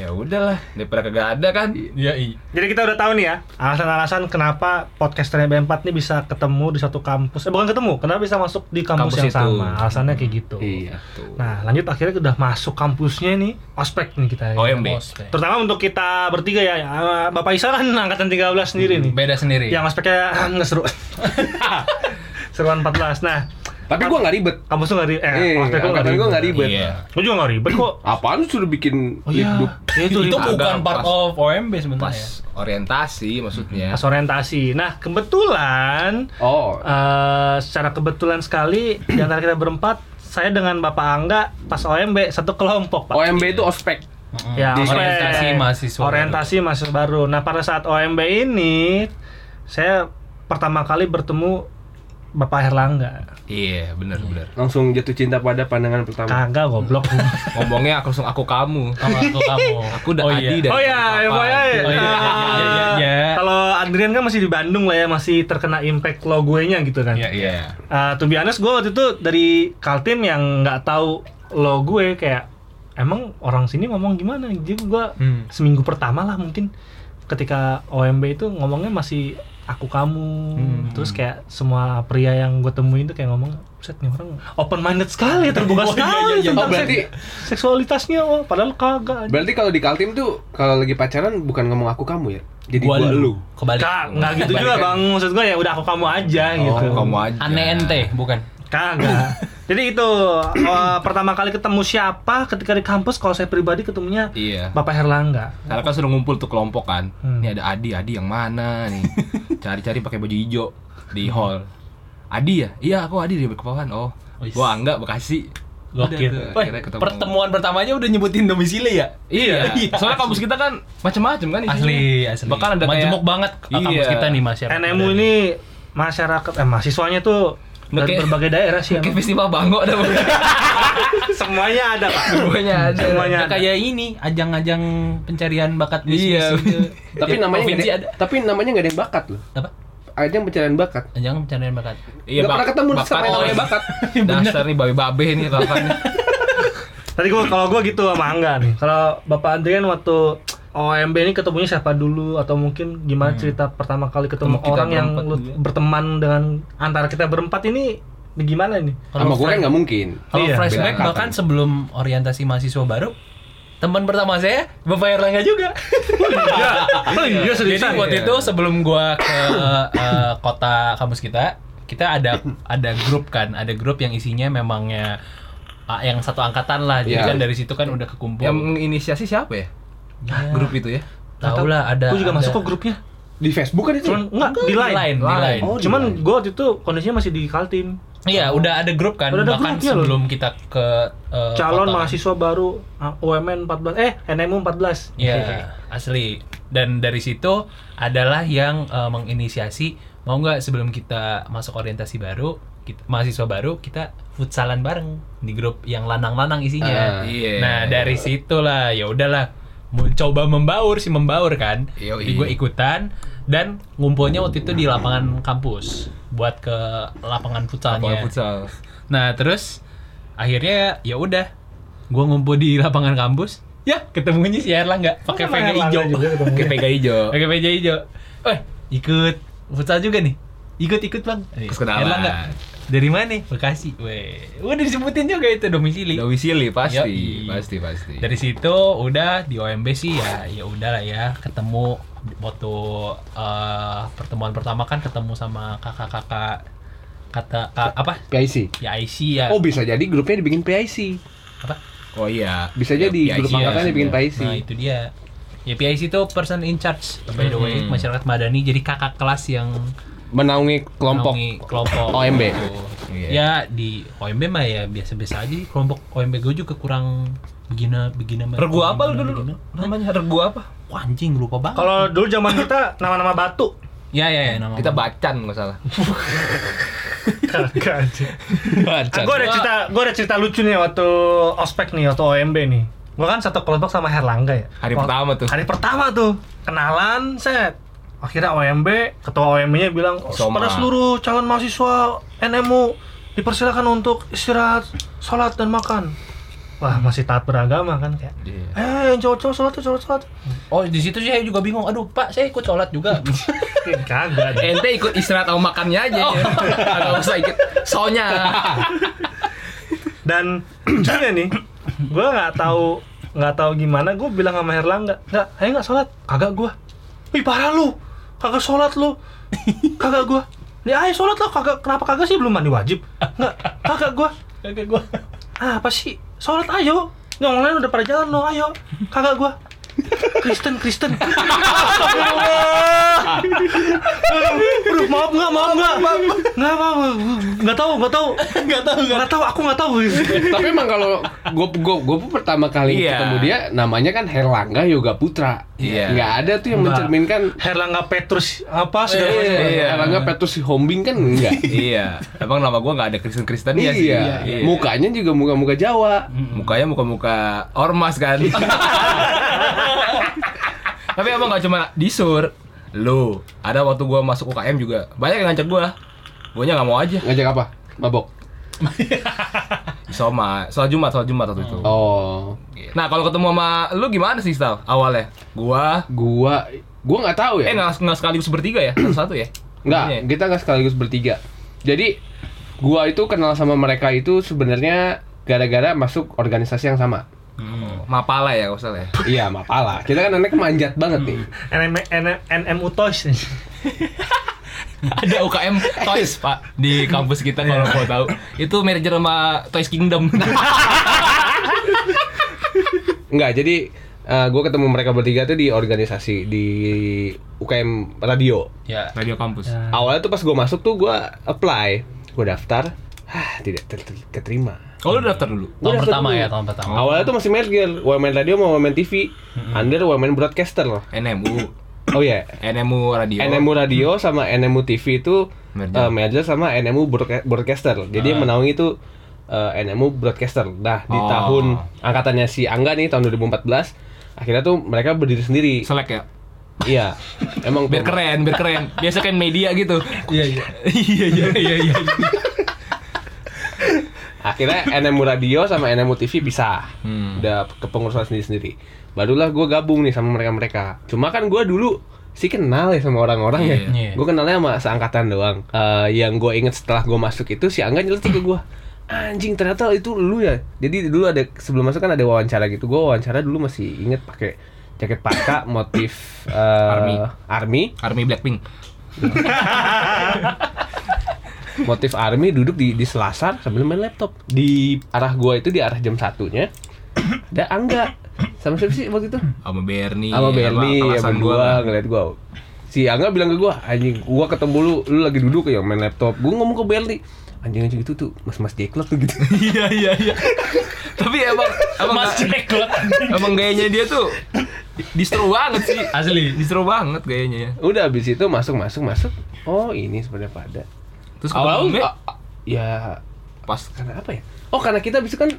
Speaker 4: ya udahlah daripada kagak ada kan
Speaker 3: Iya, iya.
Speaker 1: Jadi kita udah tahu nih ya alasan-alasan kenapa podcasternya B4 nih bisa ketemu di satu kampus. Eh bukan ketemu, kenapa bisa masuk di kampus,
Speaker 4: Kampus
Speaker 1: yang
Speaker 4: itu.
Speaker 1: sama. Alasannya kayak gitu.
Speaker 2: Iya.
Speaker 4: Tuh.
Speaker 1: Nah, lanjut akhirnya udah masuk kampusnya nih, ospek nih kita. ya.
Speaker 2: Oh, iya.
Speaker 4: OMB
Speaker 3: Bos, deh.
Speaker 1: Terutama untuk kita bertiga ya. Ah, Bapak Isa kan angkatan 13 sendiri nih.
Speaker 3: Beda sendiri.
Speaker 1: Yang ospeknya ah, nggak seru. Seruan 14. Nah,
Speaker 2: Tapi gua nggak ribet.
Speaker 1: kampus tuh nggak ribet. Eh,
Speaker 2: Eh,
Speaker 1: ospek lu
Speaker 2: angkatan gua nggak ribet.
Speaker 4: Iya.
Speaker 1: Lu juga nggak ribet kok.
Speaker 2: Apaan suruh bikin
Speaker 1: Oh iya,
Speaker 2: hidup?
Speaker 1: itu
Speaker 3: itu
Speaker 1: ribet.
Speaker 3: bukan
Speaker 4: Agak
Speaker 3: part
Speaker 4: pas.
Speaker 3: of OMB sebenarnya.
Speaker 4: pas orientasi maksudnya
Speaker 1: Pas orientasi. Nah, kebetulan
Speaker 2: Oh,
Speaker 1: Eh, secara kebetulan sekali di antara kita berempat, saya dengan Bapak Angga pas OMB satu kelompok, Pak.
Speaker 2: OMB itu ospek.
Speaker 3: Mm-mm.
Speaker 1: Ya,
Speaker 2: Di
Speaker 1: ospek.
Speaker 3: Oh, orientasi mahasiswa baru.
Speaker 1: Orientasi mahasiswa baru. Nah, pada saat OMB ini saya pertama kali bertemu Bapak Herlangga.
Speaker 4: iya bener bener
Speaker 2: Langsung jatuh cinta pada pandangan pertama.
Speaker 1: Kagak goblok.
Speaker 4: ngomongnya aku langsung aku kamu
Speaker 3: Sama aku kamu.
Speaker 4: aku udah
Speaker 3: Oh,
Speaker 4: Adi
Speaker 3: iya.
Speaker 4: dan
Speaker 1: oh ya, FYI.
Speaker 4: Papa.
Speaker 3: Oh, iya, iya, iya, iya, iya.
Speaker 1: eh, Kalau Adrian kan masih di Bandung lah ya, masih terkena impact lo gue-nya gitu kan.
Speaker 3: Iya, iya.
Speaker 1: Eh, to be honest, gue waktu itu dari Kaltim yang nggak tahu lo gue kayak emang orang sini ngomong gimana? Jadi gue
Speaker 3: Hmm.
Speaker 1: seminggu pertama lah mungkin ketika OMB itu ngomongnya masih aku kamu
Speaker 3: Hmm.
Speaker 1: terus kayak semua pria yang gue temuin tuh kayak ngomong set nih orang open minded sekali terbuka
Speaker 3: Oh, iya,
Speaker 1: sekali
Speaker 3: iya, iya.
Speaker 1: tentang
Speaker 2: Oh, berarti
Speaker 1: seks- seksualitasnya oh padahal kagak aja.
Speaker 2: berarti kalau di Kaltim tuh kalau lagi pacaran bukan ngomong aku kamu ya. Jadi
Speaker 3: Gua
Speaker 2: gua,
Speaker 3: lu.
Speaker 2: lu.
Speaker 3: Kebalik.
Speaker 1: Kak, nggak gitu juga bang maksud gue ya udah aku kamu aja
Speaker 3: Oh,
Speaker 1: gitu
Speaker 4: kamu aja
Speaker 3: Aneh ente, bukan.
Speaker 1: Kagak. Jadi itu eh, pertama kali ketemu siapa ketika di kampus kalau saya pribadi ketemunya
Speaker 4: iya
Speaker 1: Bapak Herlangga.
Speaker 4: Karena kan suruh ngumpul tuh kelompok kan.
Speaker 1: Hmm.
Speaker 4: Ini ada Adi, Adi yang mana nih? Cari-cari pakai baju hijau di hall. Adi ya? Iya, aku Adi dari Kepulauan. Oh.
Speaker 3: Wis.
Speaker 4: Gua Angga Bekasi.
Speaker 3: Gokil.
Speaker 4: Udah tuh,
Speaker 3: Wah,
Speaker 4: akhirnya ketemu.
Speaker 3: pertemuan pertamanya udah nyebutin domisili ya?
Speaker 4: Iya.
Speaker 3: Iya,
Speaker 4: Soalnya kampus kita kan macam-macam kan isinya.
Speaker 3: Asli, asli.
Speaker 4: Bahkan ada kayak-
Speaker 3: Majemuk banget
Speaker 4: Iya.
Speaker 3: kampus kita nih Mas.
Speaker 1: NMU ini masyarakat eh mahasiswanya tuh
Speaker 4: Nggak
Speaker 1: dari
Speaker 4: kayak-
Speaker 1: berbagai daerah sih
Speaker 4: Kayak
Speaker 1: emang.
Speaker 4: festival Banggo ada Iya,
Speaker 1: Semuanya ada, Pak.
Speaker 4: semuanya ada.
Speaker 1: Semuanya
Speaker 3: Ya,
Speaker 1: ada.
Speaker 3: kayak ini ajang-ajang pencarian bakat bisnis
Speaker 4: Iya.
Speaker 3: gitu.
Speaker 2: Tapi namanya
Speaker 3: Di
Speaker 2: nggak
Speaker 3: provinsi
Speaker 2: ada,
Speaker 3: ada
Speaker 2: tapi namanya nggak ada yang bakat loh.
Speaker 3: apa?
Speaker 2: Ada yang pencarian bakat.
Speaker 3: Ajang pencarian bakat.
Speaker 2: Nggak pernah ketemu sama yang namanya bakat.
Speaker 4: Dasar nih babe-babe nih rasanya.
Speaker 1: Tadi gua kalau gua gitu sama Angga nih. Kalau Bapak Andrian waktu OMB ini ketemunya siapa dulu atau mungkin gimana cerita pertama kali Hmm. ketemu
Speaker 4: Ketemu kita
Speaker 1: orang yang
Speaker 4: berempat
Speaker 1: lu
Speaker 4: juga.
Speaker 1: berteman dengan antara kita berempat ini gimana nih?
Speaker 2: Sama gua kan nggak mungkin.
Speaker 3: Kalau
Speaker 1: Iya.
Speaker 3: flashback
Speaker 2: Beda
Speaker 3: bahkan sebelum orientasi mahasiswa baru teman pertama saya Bapak Erlangga juga.
Speaker 1: Iya. Oh iya,
Speaker 3: Jadi
Speaker 1: seriusan.
Speaker 3: waktu itu sebelum gua ke eh, kota kampus kita, kita ada ada grup kan, ada grup yang isinya memangnya ah, yang satu angkatan lah. Jadi
Speaker 2: Iya.
Speaker 3: kan dari situ kan udah kekumpul.
Speaker 4: yang inisiasi siapa ya? Grup itu ya.
Speaker 3: tahu lah ada.
Speaker 1: Gua juga
Speaker 3: ada-
Speaker 1: masuk kok grupnya.
Speaker 2: Di Facebook kan itu.
Speaker 1: Cuman enggak di
Speaker 3: di lain,
Speaker 1: lain.
Speaker 3: di lain.
Speaker 2: Oh, di
Speaker 1: Cuman
Speaker 2: lain.
Speaker 1: gue waktu itu kondisinya masih di Kaltim.
Speaker 3: Iya, udah ada grup kan.
Speaker 1: Udah ada
Speaker 3: Bahkan
Speaker 1: grupnya loh.
Speaker 3: sebelum kita ke eh,
Speaker 1: Calon
Speaker 3: kota.
Speaker 1: mahasiswa baru uh, UMN 14 eh NMU 14.
Speaker 3: Iya, asli. Dan dari situ adalah yang eh, menginisiasi mau nggak sebelum kita masuk orientasi baru, kita- mahasiswa baru kita futsalan bareng di grup yang lanang-lanang
Speaker 2: Ah,
Speaker 3: isinya.
Speaker 4: iya.
Speaker 3: Nah dari situlah ya udahlah mau coba membaur sih membaur kan.
Speaker 4: Yoi.
Speaker 3: Jadi gue ikutan dan ngumpulnya waktu itu di lapangan kampus buat ke lapangan futsalnya.
Speaker 4: Pokoknya futsal.
Speaker 3: Nah terus akhirnya ya udah, gue ngumpul di lapangan kampus. Ya ketemunya si Erlangga pakai
Speaker 1: Sama
Speaker 3: PG
Speaker 1: yang
Speaker 3: hijau,
Speaker 1: lain juga
Speaker 2: Iya,
Speaker 1: ketemu.
Speaker 4: Kayak pega hijau.
Speaker 3: pakai PG hijau. Eh ikut futsal juga nih? Ikut ikut bang.
Speaker 4: Terus Eh, kenalan.
Speaker 3: Dari mana? Bekasi. Weh, udah disebutin juga itu domisili.
Speaker 4: Domisili pasti,
Speaker 3: Yoi.
Speaker 4: pasti, pasti.
Speaker 3: Dari situ udah di OMB sih ya ya udahlah ya ketemu waktu eh, pertemuan pertama kan ketemu sama kakak-kakak kata ka- apa
Speaker 2: PIC.
Speaker 3: ya IC ya
Speaker 2: Oh bisa jadi grupnya dibikin PIC.
Speaker 3: apa
Speaker 4: Oh iya.
Speaker 2: Bisa jadi
Speaker 4: Ya,
Speaker 2: grup
Speaker 4: PIC ya.
Speaker 2: angkatan dibikin PIC.
Speaker 3: Nah itu dia. Ya PIC itu person in charge by the way
Speaker 4: Mhm.
Speaker 3: masyarakat Madani jadi kakak kelas yang
Speaker 2: Menaungi kelompok.
Speaker 3: naungi kelompok
Speaker 2: OMB.
Speaker 3: gitu.
Speaker 4: Iya.
Speaker 3: Ya di OMB mah ya biasa-biasa aja. Kelompok OMB gue juga kurang begina begina.
Speaker 4: Regu apa lu
Speaker 3: begina-
Speaker 4: dulu?
Speaker 3: begina.
Speaker 4: Namanya regu apa?
Speaker 3: Wah, anjing lupa banget.
Speaker 1: Kalau dulu zaman kita nama-nama batu.
Speaker 3: ya ya ya nama.
Speaker 4: Kita bacan nggak salah.
Speaker 1: Kagak aja.
Speaker 3: baca.
Speaker 1: gue ada cerita, gue ada cerita lucu nih waktu ospek nih, waktu OMB nih. Gue kan satu kelompok sama Herlangga ya.
Speaker 4: Hari
Speaker 1: Waktu-
Speaker 4: pertama tuh.
Speaker 1: Hari pertama tuh kenalan set. Akhirnya OMB, ketua OMB-nya bilang "Oh,
Speaker 4: Soma.
Speaker 1: pada seluruh calon mahasiswa NMU dipersilakan untuk istirahat, sholat dan makan. Wah, masih taat beragama kan kayak.
Speaker 4: Iya.
Speaker 1: Eh, cowok-cowok sholat, sholat, sholat.
Speaker 3: Oh di situ saya juga bingung. Aduh Pak, saya ikut sholat juga.
Speaker 1: Kagak.
Speaker 4: Ente ikut istirahat sama makannya aja.
Speaker 2: Oh.
Speaker 4: ya. Nggak usah ikut soalnya.
Speaker 1: dan lucunya nih gue nggak tahu nggak tahu gimana gue bilang sama Herlangga nggak ayo nggak sholat kagak gue wih parah lu kagak sholat lu kagak gue nih ayo sholat lah kagak kenapa kagak sih belum mandi wajib nggak kagak gue
Speaker 3: Kagak gua.
Speaker 1: ah apa sih sholat ayo yang lain udah pada jalan lo ayo kagak gue Kristen Kristen Astagfirullah Aduh, aduh, maaf nggak maaf nggak nggak maaf nggak tahu nggak tahu nggak tahu nggak tahu aku nggak tahu
Speaker 2: Tapi emang kalau gue gue gue pertama kali
Speaker 4: Iya.
Speaker 2: ketemu dia namanya kan Herlangga Yoga Putra.
Speaker 4: Iya.
Speaker 2: Nggak ada tuh yang
Speaker 1: Nggak.
Speaker 2: mencerminkan
Speaker 1: Herlangga Petrus apa segala
Speaker 4: Iya,
Speaker 1: macam.
Speaker 4: iya, iya.
Speaker 2: Herlangga Petrus Hombing kan enggak.
Speaker 4: iya. Emang nama gua nggak ada Kristen Kristen
Speaker 2: Iya.
Speaker 4: ya sih. Muka
Speaker 2: Mukanya juga muka-muka Jawa.
Speaker 4: mukanya muka-muka ormas kan. Tapi emang nggak cuma di sur. Lu, ada waktu gua masuk UKM juga. Banyak yang ngajak gua. Guanya nggak mau aja.
Speaker 2: Ngajak apa? Mabok.
Speaker 4: Soma, soal Jumat, soal Jumat waktu itu.
Speaker 2: Oh,
Speaker 4: Nah, kalau ketemu sama lu gimana sih, Stal? Awalnya? Gua
Speaker 2: gua gua nggak tahu ya.
Speaker 4: eh nggak nggak sekaligus bertiga ya, satu-satu ya?
Speaker 2: Nggak,
Speaker 4: Iya.
Speaker 2: kita nggak sekaligus bertiga. Jadi gua itu kenal sama mereka itu sebenarnya gara-gara masuk organisasi yang sama.
Speaker 4: Mapala ya, kalau salah ya.
Speaker 2: Iya, Mapala. Kita kan anaknya manjat banget nih.
Speaker 3: Hmm.
Speaker 1: NM, NM, NMU Toys nih.
Speaker 4: ada UKM Toys pak di kampus kita
Speaker 2: Iya.
Speaker 4: kalau mau tahu itu merger sama Toys Kingdom
Speaker 2: Nggak, jadi eh, gua ketemu mereka bertiga tuh di organisasi di UKM radio.
Speaker 3: Ya.
Speaker 4: radio kampus
Speaker 2: Awalnya tuh pas gua masuk tuh gua apply, gua daftar, Hah, tidak ter- ter- keterima.
Speaker 4: kalau lu daftar dulu
Speaker 3: Tahun
Speaker 2: Udah,
Speaker 3: pertama
Speaker 2: seru.
Speaker 3: ya, tahun pertama. Hmm.
Speaker 2: Awalnya tuh masih merger, Women Radio sama Women TV, under Women Broadcaster loh.
Speaker 4: NMU
Speaker 2: Oh iya,
Speaker 4: NMU radio Hmm.
Speaker 2: NMU Radio sama NMU TV itu
Speaker 4: Merger. Ah.
Speaker 2: eh, merger sama NMU Broadca- Broadcaster. Jadi yang menaungi itu eh, NMU Broadcaster. Nah, di
Speaker 4: Oh.
Speaker 2: tahun angkatannya si Angga nih tahun 2014, akhirnya tuh mereka berdiri sendiri.
Speaker 4: selek ya
Speaker 2: Iya. Emang
Speaker 4: biar
Speaker 2: tuh.
Speaker 4: keren biar keren biasa kan media gitu
Speaker 3: Iya iya.
Speaker 4: iya iya iya iya
Speaker 2: Akhirnya NMU Radio sama NMU TV pisah.
Speaker 4: Hmm.
Speaker 2: Udah kepengurusan sendiri-sendiri. Barulah gue gabung nih sama mereka-mereka. Cuma kan gue dulu sih kenal ya sama orang-orang ya.
Speaker 3: Iya.
Speaker 2: Gue kenalnya sama seangkatan doang. Eh, yang gue inget setelah gue masuk itu si Angga nyeletuk ke gue. Anjing ternyata itu lu ya. Jadi dulu ada sebelum masuk kan ada wawancara gitu. Gue wawancara dulu masih inget pakai jaket parka motif eh,
Speaker 4: Army.
Speaker 2: army
Speaker 4: Army Blackpink
Speaker 2: motif army duduk di di selasar sambil main laptop di arah gua itu di arah jam satunya ada angga sama siapa sih waktu itu
Speaker 4: sama Bernie
Speaker 2: sama Bernie ya berdua
Speaker 4: kelasan Iya, gua kan.
Speaker 2: ngeliat gua si angga bilang ke gua anjing gua ketemu lu lu lagi duduk ya main laptop gua ngomong ke Bernie anjing anjing itu tuh mas mas jeklek tuh gitu
Speaker 4: iya iya iya tapi emang emang
Speaker 3: Mas Jeklot.
Speaker 4: emang gayanya dia tuh distro banget sih
Speaker 3: Asli.
Speaker 4: distro banget gayanya ya
Speaker 2: udah habis itu masuk masuk masuk oh ini sebenarnya pada
Speaker 4: terus
Speaker 2: awal
Speaker 4: ketemu
Speaker 2: ya
Speaker 4: pas
Speaker 2: karena apa ya oh karena kita habis itu kan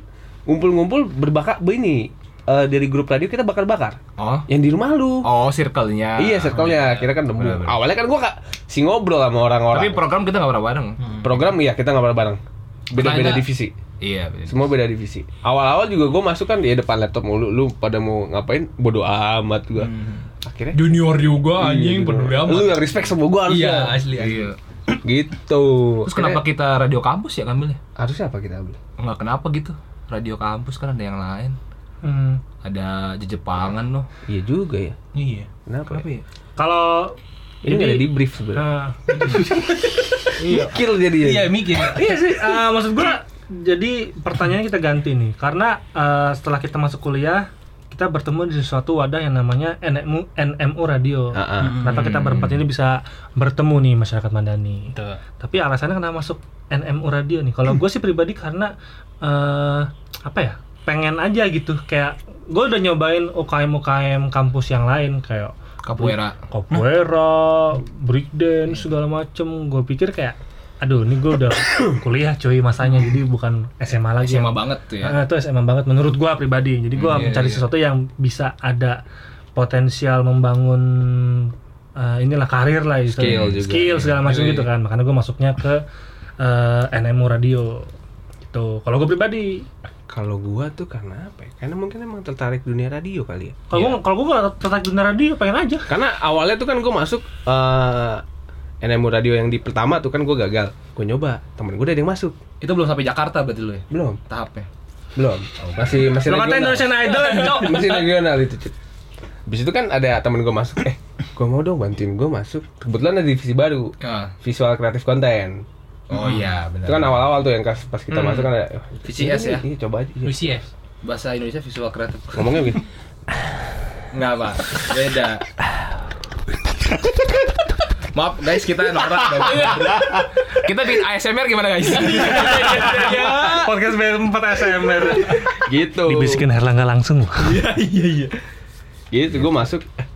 Speaker 2: ngumpul-ngumpul berbakar ini eh, dari grup radio kita bakar-bakar
Speaker 4: oh
Speaker 2: yang di rumah lu
Speaker 4: Oh, circle-nya.
Speaker 2: Iya, circle-nya kira kan nemu.
Speaker 4: Benar-benar.
Speaker 2: Awalnya kan gua kak si ngobrol sama
Speaker 4: Tapi
Speaker 2: orang-orang.
Speaker 4: program kita nggak pernah bareng.
Speaker 2: program iya kita nggak pernah bareng. Beda-beda
Speaker 4: Tanya.
Speaker 2: divisi.
Speaker 4: Iya, bener.
Speaker 2: Semua beda divisi. Awal-awal juga gua masuk kan di depan laptop mulu. Lu pada mau ngapain? Bodoh amat gua. Akhirnya
Speaker 3: Junior
Speaker 2: Iya,
Speaker 3: juga anjing
Speaker 2: gitu.
Speaker 3: peduli amat.
Speaker 2: Lu yang respect sama gua
Speaker 3: Iya,
Speaker 2: harusnya.
Speaker 3: asli. asli.
Speaker 4: Iya.
Speaker 2: Gitu.
Speaker 4: Terus kenapa kita radio kampus ya ngambilnya?
Speaker 2: harusnya apa kita ambil?
Speaker 4: Enggak kenapa gitu. Radio kampus kan ada yang lain.
Speaker 1: Hmm.
Speaker 4: Ada jejepangan loh.
Speaker 2: Iya juga ya.
Speaker 3: Iya.
Speaker 2: Kenapa?
Speaker 4: Kenapa ya?
Speaker 1: Kalau
Speaker 2: Ini nggak ada di brief sebenarnya.
Speaker 1: eh,
Speaker 2: Kill jadi
Speaker 3: Iya, mikir.
Speaker 1: iya sih eh, maksud gua jadi pertanyaannya kita ganti nih karena eh, setelah kita masuk kuliah kita bertemu di suatu wadah yang namanya NMU NMU Radio. Kenapa kita
Speaker 4: Hmm.
Speaker 1: berempat ini bisa bertemu nih masyarakat Mandani?
Speaker 3: Tuh.
Speaker 1: Tapi alasannya kenapa masuk NMU radio nih? Kalau gue sih pribadi karena eh apa ya? Pengen aja gitu. Kayak gue udah nyobain UKM UKM kampus yang lain kayak
Speaker 4: Capoeira.
Speaker 1: capoeira, breakdance segala macem. Gue pikir kayak aduh ini gue udah kuliah cuy masanya jadi bukan SMA lagi.
Speaker 4: SMA banget tuh ya.
Speaker 1: Nah, itu SMA banget menurut gua pribadi. Jadi gua
Speaker 4: Hmm, iya,
Speaker 1: mencari
Speaker 4: iya.
Speaker 1: sesuatu yang bisa ada potensial membangun eh, inilah karir lah itu.
Speaker 2: Skill juga,
Speaker 1: Skill segala macam
Speaker 4: Iya,
Speaker 1: gitu
Speaker 4: iya.
Speaker 1: kan. Makanya gua masuknya ke eh, NMU Radio. Gitu. Kalau gue pribadi,
Speaker 2: Kalau gua tuh karena apa? Ya? Karena mungkin emang tertarik dunia radio kali ya.
Speaker 1: kalau
Speaker 4: Iya.
Speaker 1: gua kalau gue nggak tertarik dunia radio, pengen aja.
Speaker 2: Karena awalnya tuh kan gua masuk eh NMU radio yang di pertama tuh kan gua gagal. Gua nyoba, temen gua udah ada yang masuk.
Speaker 5: Itu belum sampai Jakarta berarti lu ya
Speaker 2: Belum,
Speaker 5: tahapnya.
Speaker 2: belum. Oh, Masih masih
Speaker 1: Lo kata Indonesian Idol, Cok.
Speaker 2: masih regional itu Cuk. Habis itu kan ada temen gue masuk eh gue mau dong bantuin gue masuk kebetulan ada divisi baru
Speaker 5: Ah.
Speaker 2: visual kreatif konten
Speaker 4: Oh iya,
Speaker 2: itu
Speaker 4: benar.
Speaker 2: kan awal-awal tuh yang pas pas kita masuk kan ada "Oh,
Speaker 5: VCS Hmm.
Speaker 2: iya,
Speaker 5: ya?
Speaker 2: iya, coba aja iya."
Speaker 3: Lucy ya?
Speaker 5: Bahasa Indonesia visual kreatif.
Speaker 2: ngomongnya begini
Speaker 5: Enggak, Pak. Beda. Maaf guys, kita norak dong.
Speaker 4: Kita bikin ASMR gimana guys?
Speaker 1: Podcast B4 ASMR.
Speaker 2: gitu
Speaker 1: Dibisikin Herlangga langsung.
Speaker 4: Iya,
Speaker 2: gitu gue masuk "Eh,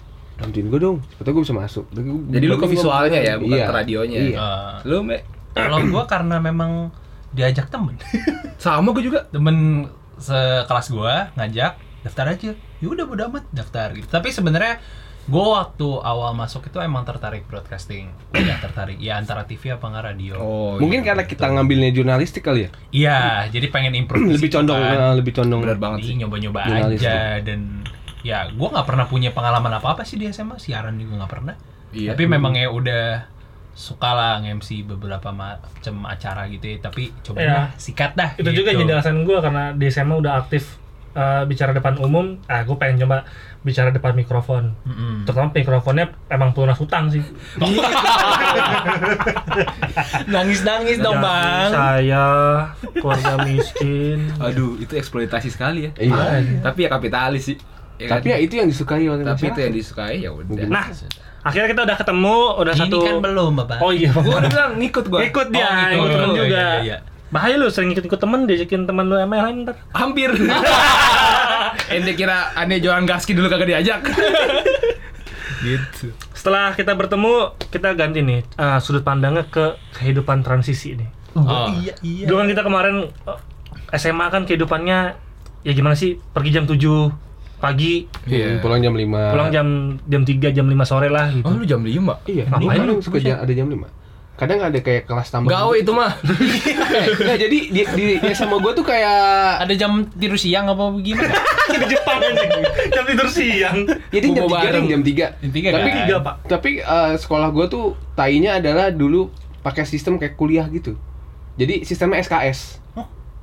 Speaker 2: bantuin gue dong sepatu gue bisa masuk Udah, gua-
Speaker 5: Jadi lu ke
Speaker 2: gua-
Speaker 5: visualnya ya, bukan
Speaker 2: Iya.
Speaker 5: ke radionya.
Speaker 2: Iya.
Speaker 3: Eh,
Speaker 5: Lu, Me?
Speaker 3: Kalau gua karena memang diajak temen
Speaker 5: Sama gue juga.
Speaker 3: temen sekelas gua ngajak daftar aja ya udah bodo amat daftar gitu tapi sebenarnya gua waktu awal masuk itu emang tertarik broadcasting tidak tertarik ya antara TV apa nggak radio
Speaker 5: Oh.
Speaker 2: mungkin karena kita ngambilnya jurnalistik kali ya
Speaker 3: iya jadi pengen improve di
Speaker 2: lebih
Speaker 3: situ
Speaker 2: condong
Speaker 3: kan.
Speaker 2: eh, lebih condong
Speaker 5: Benar banget
Speaker 3: Jadi
Speaker 5: sih.
Speaker 3: nyoba-nyoba
Speaker 2: Jurnalistik.
Speaker 3: aja dan ya gua nggak pernah punya pengalaman apa apa sih di SMA siaran juga nggak pernah
Speaker 5: Iya.
Speaker 3: tapi memang ya udah suka lah nge-MC beberapa macam acara gitu ya tapi coba
Speaker 1: Iya.
Speaker 3: sikat dah
Speaker 1: itu juga
Speaker 3: gitu.
Speaker 1: jadi alasan gue karena di SMA udah aktif eh, bicara depan umum ah gue pengen coba bicara depan mikrofon
Speaker 3: Mm-mm.
Speaker 1: terutama mikrofonnya emang pelunas hutang sih
Speaker 3: nangis-nangis dong bang
Speaker 1: saya keluarga miskin
Speaker 5: Aduh, itu eksploitasi sekali ya.
Speaker 2: iya
Speaker 5: Tapi ya kapitalis sih. Ya
Speaker 2: tapi ya
Speaker 5: kan?
Speaker 2: itu yang disukai oleh
Speaker 5: tapi itu yang
Speaker 2: masyarakat.
Speaker 5: disukai ya udah.
Speaker 2: Mungkin.
Speaker 1: nah akhirnya kita udah ketemu udah
Speaker 3: Ini
Speaker 1: satu
Speaker 3: kan belum, Bapak.
Speaker 1: oh iya
Speaker 5: Gua udah bilang ngikut gua.
Speaker 1: ikut dia
Speaker 3: Oh, gitu.
Speaker 1: ikut temen
Speaker 3: Iya,
Speaker 1: juga
Speaker 3: iya, iya.
Speaker 1: bahaya lu sering ikut ikut temen diajakin temen lu yang lain ntar
Speaker 5: Hampir.
Speaker 4: Ende kira Ande Johan Gaski dulu kagak diajak. gitu.
Speaker 1: setelah kita bertemu kita ganti nih eh, sudut pandangnya ke kehidupan transisi nih
Speaker 3: Oh, iya, iya.
Speaker 1: Dulu kan kita kemarin eh, SMA kan kehidupannya ya gimana sih pergi jam 7 pagi
Speaker 2: Iya. pulang jam 5
Speaker 1: pulang jam jam 3 jam 5 sore lah gitu.
Speaker 4: Oh lu jam 5?
Speaker 2: Iya,
Speaker 1: Ngapain
Speaker 2: ngapain
Speaker 1: lu?
Speaker 2: lu suka ja- ada jam 5? Kadang ada kayak kelas
Speaker 5: oh,
Speaker 2: tambah.
Speaker 4: Gawe itu mah.
Speaker 2: Nah, jadi di, di, di SMA gua tuh kayak
Speaker 3: Ada jam tidur siang apa gimana?
Speaker 1: di Jepang anjing. jam tidur siang.
Speaker 2: jadi Iya, jam
Speaker 4: Bobo
Speaker 2: 3
Speaker 4: bareng.
Speaker 2: jam 3.
Speaker 3: Jam tiga,
Speaker 2: tapi
Speaker 3: kan?
Speaker 1: Tiga, Pak.
Speaker 2: tapi eh, sekolah gua tuh tainya adalah dulu pakai sistem kayak kuliah gitu. Jadi sistemnya SKS.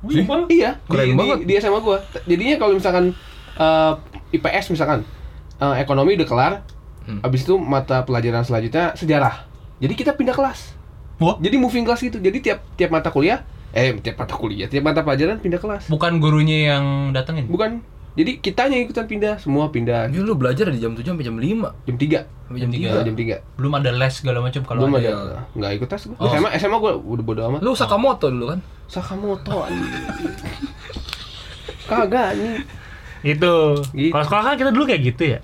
Speaker 1: Simpel.
Speaker 2: Iya, di-
Speaker 4: Keren
Speaker 2: di,
Speaker 4: banget.
Speaker 2: Di, SMA gua. T- Jadinya kalau misalkan eh, IPS misalkan eh, ekonomi udah kelar, habis itu mata pelajaran selanjutnya sejarah. Jadi kita pindah kelas.
Speaker 3: Wah.
Speaker 2: Jadi moving kelas gitu. Jadi tiap tiap mata kuliah eh tiap mata kuliah, tiap mata pelajaran pindah kelas.
Speaker 3: Bukan gurunya yang datengin.
Speaker 2: Bukan. Jadi kitanya ikutan pindah, semua pindah
Speaker 5: Ini lu belajar dari jam 7 sampai jam 5.
Speaker 2: jam 3.
Speaker 5: Sampai jam
Speaker 3: Tiga.
Speaker 2: Iya, jam 3.
Speaker 3: Belum ada les segala macam kalau
Speaker 2: Belum
Speaker 3: ada.
Speaker 2: ada enggak ikut tes gua.
Speaker 3: Oh.
Speaker 2: SMA SMA gua udah bodo amat.
Speaker 5: 3. Lu Sakamoto dulu kan?
Speaker 2: Sakamoto. anjing. Kagak nih.
Speaker 1: Gitu.
Speaker 2: Gitu.
Speaker 1: Kalau sekolah kan kita dulu kayak gitu ya.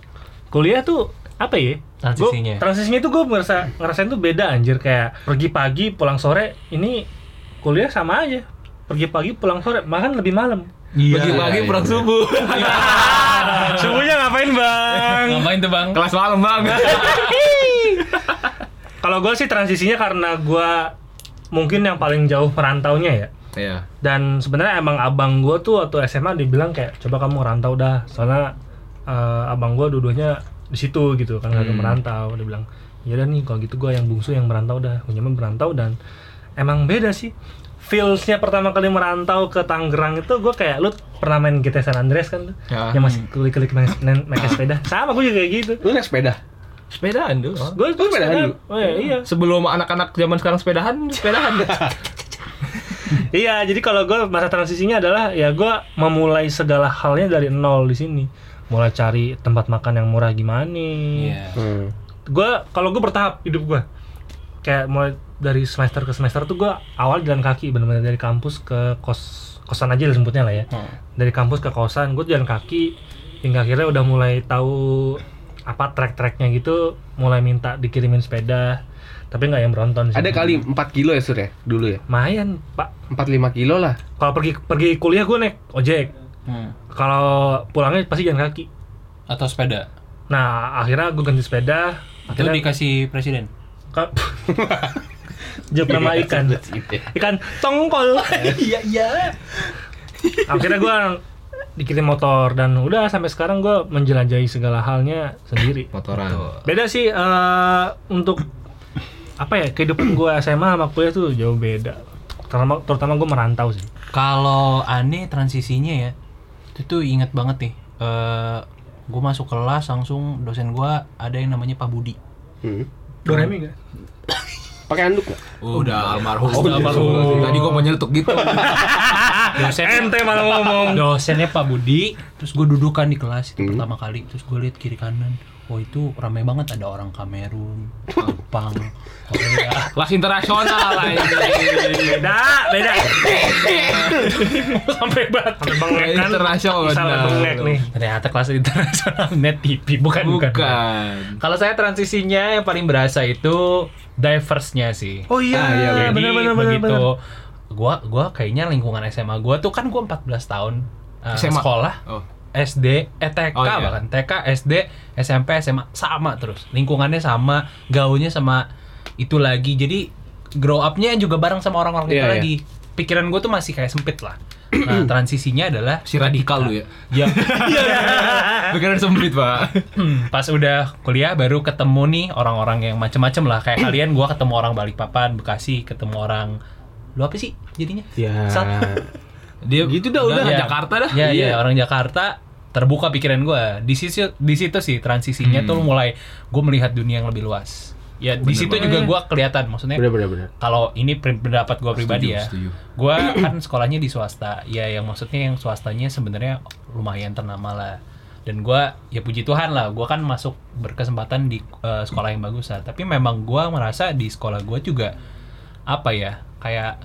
Speaker 1: Kuliah tuh apa ya?
Speaker 3: Transisinya.
Speaker 1: Gua, transisinya tuh gue ngerasa ngerasain tuh beda anjir kayak pergi pagi pulang sore ini kuliah sama aja pergi pagi pulang sore makan lebih malam
Speaker 3: Iya.
Speaker 4: Pagi-pagi
Speaker 2: iya,
Speaker 4: pulang
Speaker 2: iya.
Speaker 4: subuh.
Speaker 1: subuhnya ngapain bang
Speaker 3: Ngapain tuh, Bang?
Speaker 4: Kelas malam, Bang.
Speaker 2: Iya.
Speaker 1: Kalau gue sih transisinya karena gue mungkin yang paling jauh perantaunya ya.
Speaker 4: Iya.
Speaker 1: Dan sebenarnya emang abang gue tuh waktu SMA dibilang kayak coba kamu ngerantau dah, soalnya eh, abang gue dua-duanya di situ gitu kan nggak ada merantau. Dia bilang ya udah nih kalau gitu gue yang bungsu yang merantau dah, punya merantau dan emang beda sih. Feelsnya pertama kali merantau ke Tangerang itu gue kayak lu pernah main GTA San Andreas kan tuh,
Speaker 4: Ya.
Speaker 1: yang masih klik-klik naik, naik naik sepeda. Sama gue juga kayak gitu.
Speaker 2: Lu naik sepeda.
Speaker 4: Sepedaan dulu.
Speaker 1: Gue tuh
Speaker 2: sepedahan
Speaker 1: sepeda-
Speaker 2: dulu?
Speaker 1: Oh, iya, iya.
Speaker 4: Sebelum anak-anak zaman sekarang sepedahan, sepedahan.
Speaker 1: Iya, jadi kalau gue masa transisinya adalah ya gue memulai segala halnya dari nol di sini. Mulai cari tempat makan yang murah gimana.
Speaker 3: Iya.
Speaker 2: Hmm.
Speaker 1: Gue kalau gue bertahap hidup gue. Kayak mulai dari semester ke semester tuh gue awal jalan kaki benar-benar dari kampus ke kos kosan aja lah sebutnya lah ya.
Speaker 2: Hmm.
Speaker 1: Dari kampus ke kosan gue jalan kaki hingga akhirnya udah mulai tahu apa trek-treknya gitu, mulai minta dikirimin sepeda. Tapi nggak yang beronton sih.
Speaker 2: Ada kali 4 kilo ya Sur ya dulu ya.
Speaker 1: Mayan, Pak.
Speaker 2: 4 5 kilo lah.
Speaker 1: Kalau pergi pergi kuliah gue naik ojek.
Speaker 3: Hmm.
Speaker 1: kalau pulangnya pasti jalan kaki
Speaker 3: Atau sepeda.
Speaker 1: nah akhirnya gue ganti sepeda
Speaker 3: Itu
Speaker 1: akhirnya
Speaker 3: dikasih presiden.
Speaker 1: Ka- Joke nama ikan. Ikan tongkol.
Speaker 5: Iya iya.
Speaker 1: Akhirnya gue dikirim motor dan udah sampai sekarang gue menjelajahi segala halnya sendiri.
Speaker 4: motoran
Speaker 1: Beda sih eh, untuk apa ya kehidupan gue SMA sama kuliah tuh jauh beda. Terutama, terutama gue merantau sih.
Speaker 3: Kalau aneh transisinya ya, itu tuh inget banget nih. Eh gue masuk kelas langsung dosen gue ada yang namanya Pak Budi.
Speaker 2: Hmm.
Speaker 1: Doremi gak?
Speaker 2: Pakai handuk nggak?
Speaker 4: Oh, iya.
Speaker 5: Udah almarhum.
Speaker 3: Udah almarhum.
Speaker 5: Tadi gua mau nyelutuk gitu.
Speaker 3: Dosen
Speaker 1: Ente malah ngomong.
Speaker 3: dosennya Pak Budi. Terus gue duduk kan di kelas itu
Speaker 2: Hmm.
Speaker 3: pertama kali. Terus gue lihat kiri kanan. Oh itu ramai banget ada orang Kamerun, Jepang, Korea.
Speaker 4: kelas internasional lah ini
Speaker 1: Beda, beda. Sampai banget. Sampai bengek kan.
Speaker 4: Internasional.
Speaker 1: Sampai bengek nih.
Speaker 3: Ternyata kelas internasional net TV bukan bukan.
Speaker 4: bukan
Speaker 3: Kalau saya transisinya yang paling berasa itu diverse-nya sih.
Speaker 1: Oh iya,
Speaker 2: Ah, iya,
Speaker 1: bener
Speaker 3: Jadi
Speaker 1: bener bener bener.
Speaker 3: begitu gua gua kayaknya lingkungan SMA gua tuh kan gua 14 tahun eh,
Speaker 4: SMA.
Speaker 3: sekolah
Speaker 4: oh
Speaker 3: SD eh TK
Speaker 4: Oh, iya.
Speaker 3: bahkan TK SD SMP SMA sama terus lingkungannya sama gaulnya sama itu lagi jadi grow upnya juga bareng sama orang-orang
Speaker 2: Iya,
Speaker 3: kita
Speaker 2: iya.
Speaker 3: lagi pikiran gua tuh masih kayak sempit lah nah transisinya adalah
Speaker 4: si radikal lu ya
Speaker 3: ya
Speaker 4: pikiran sempit pak
Speaker 3: Hmm, pas udah kuliah baru ketemu nih orang-orang yang macem-macem lah kayak kalian gua ketemu orang Balikpapan Bekasi ketemu orang lu apa sih jadinya
Speaker 2: Ya.
Speaker 3: Sat.
Speaker 4: dia
Speaker 2: Gitu dah, udah.
Speaker 3: Ya.
Speaker 4: Jakarta dah
Speaker 3: ya
Speaker 2: Iya.
Speaker 3: iya orang Jakarta terbuka pikiran gua di situ di situ sih transisinya
Speaker 4: Hmm.
Speaker 3: tuh mulai gue melihat dunia yang lebih luas ya di
Speaker 4: Bener
Speaker 3: situ
Speaker 4: banget.
Speaker 3: juga gua kelihatan maksudnya
Speaker 2: Bener bener bener.
Speaker 3: kalau ini pri- pendapat gua pribadi
Speaker 4: Setuju,
Speaker 3: ya
Speaker 4: setuju.
Speaker 3: gua kan sekolahnya di swasta ya yang maksudnya yang swastanya sebenarnya lumayan ternama lah dan gua ya puji Tuhan lah gua kan masuk berkesempatan di eh, sekolah yang bagus lah tapi memang gua merasa di sekolah gua juga apa ya kayak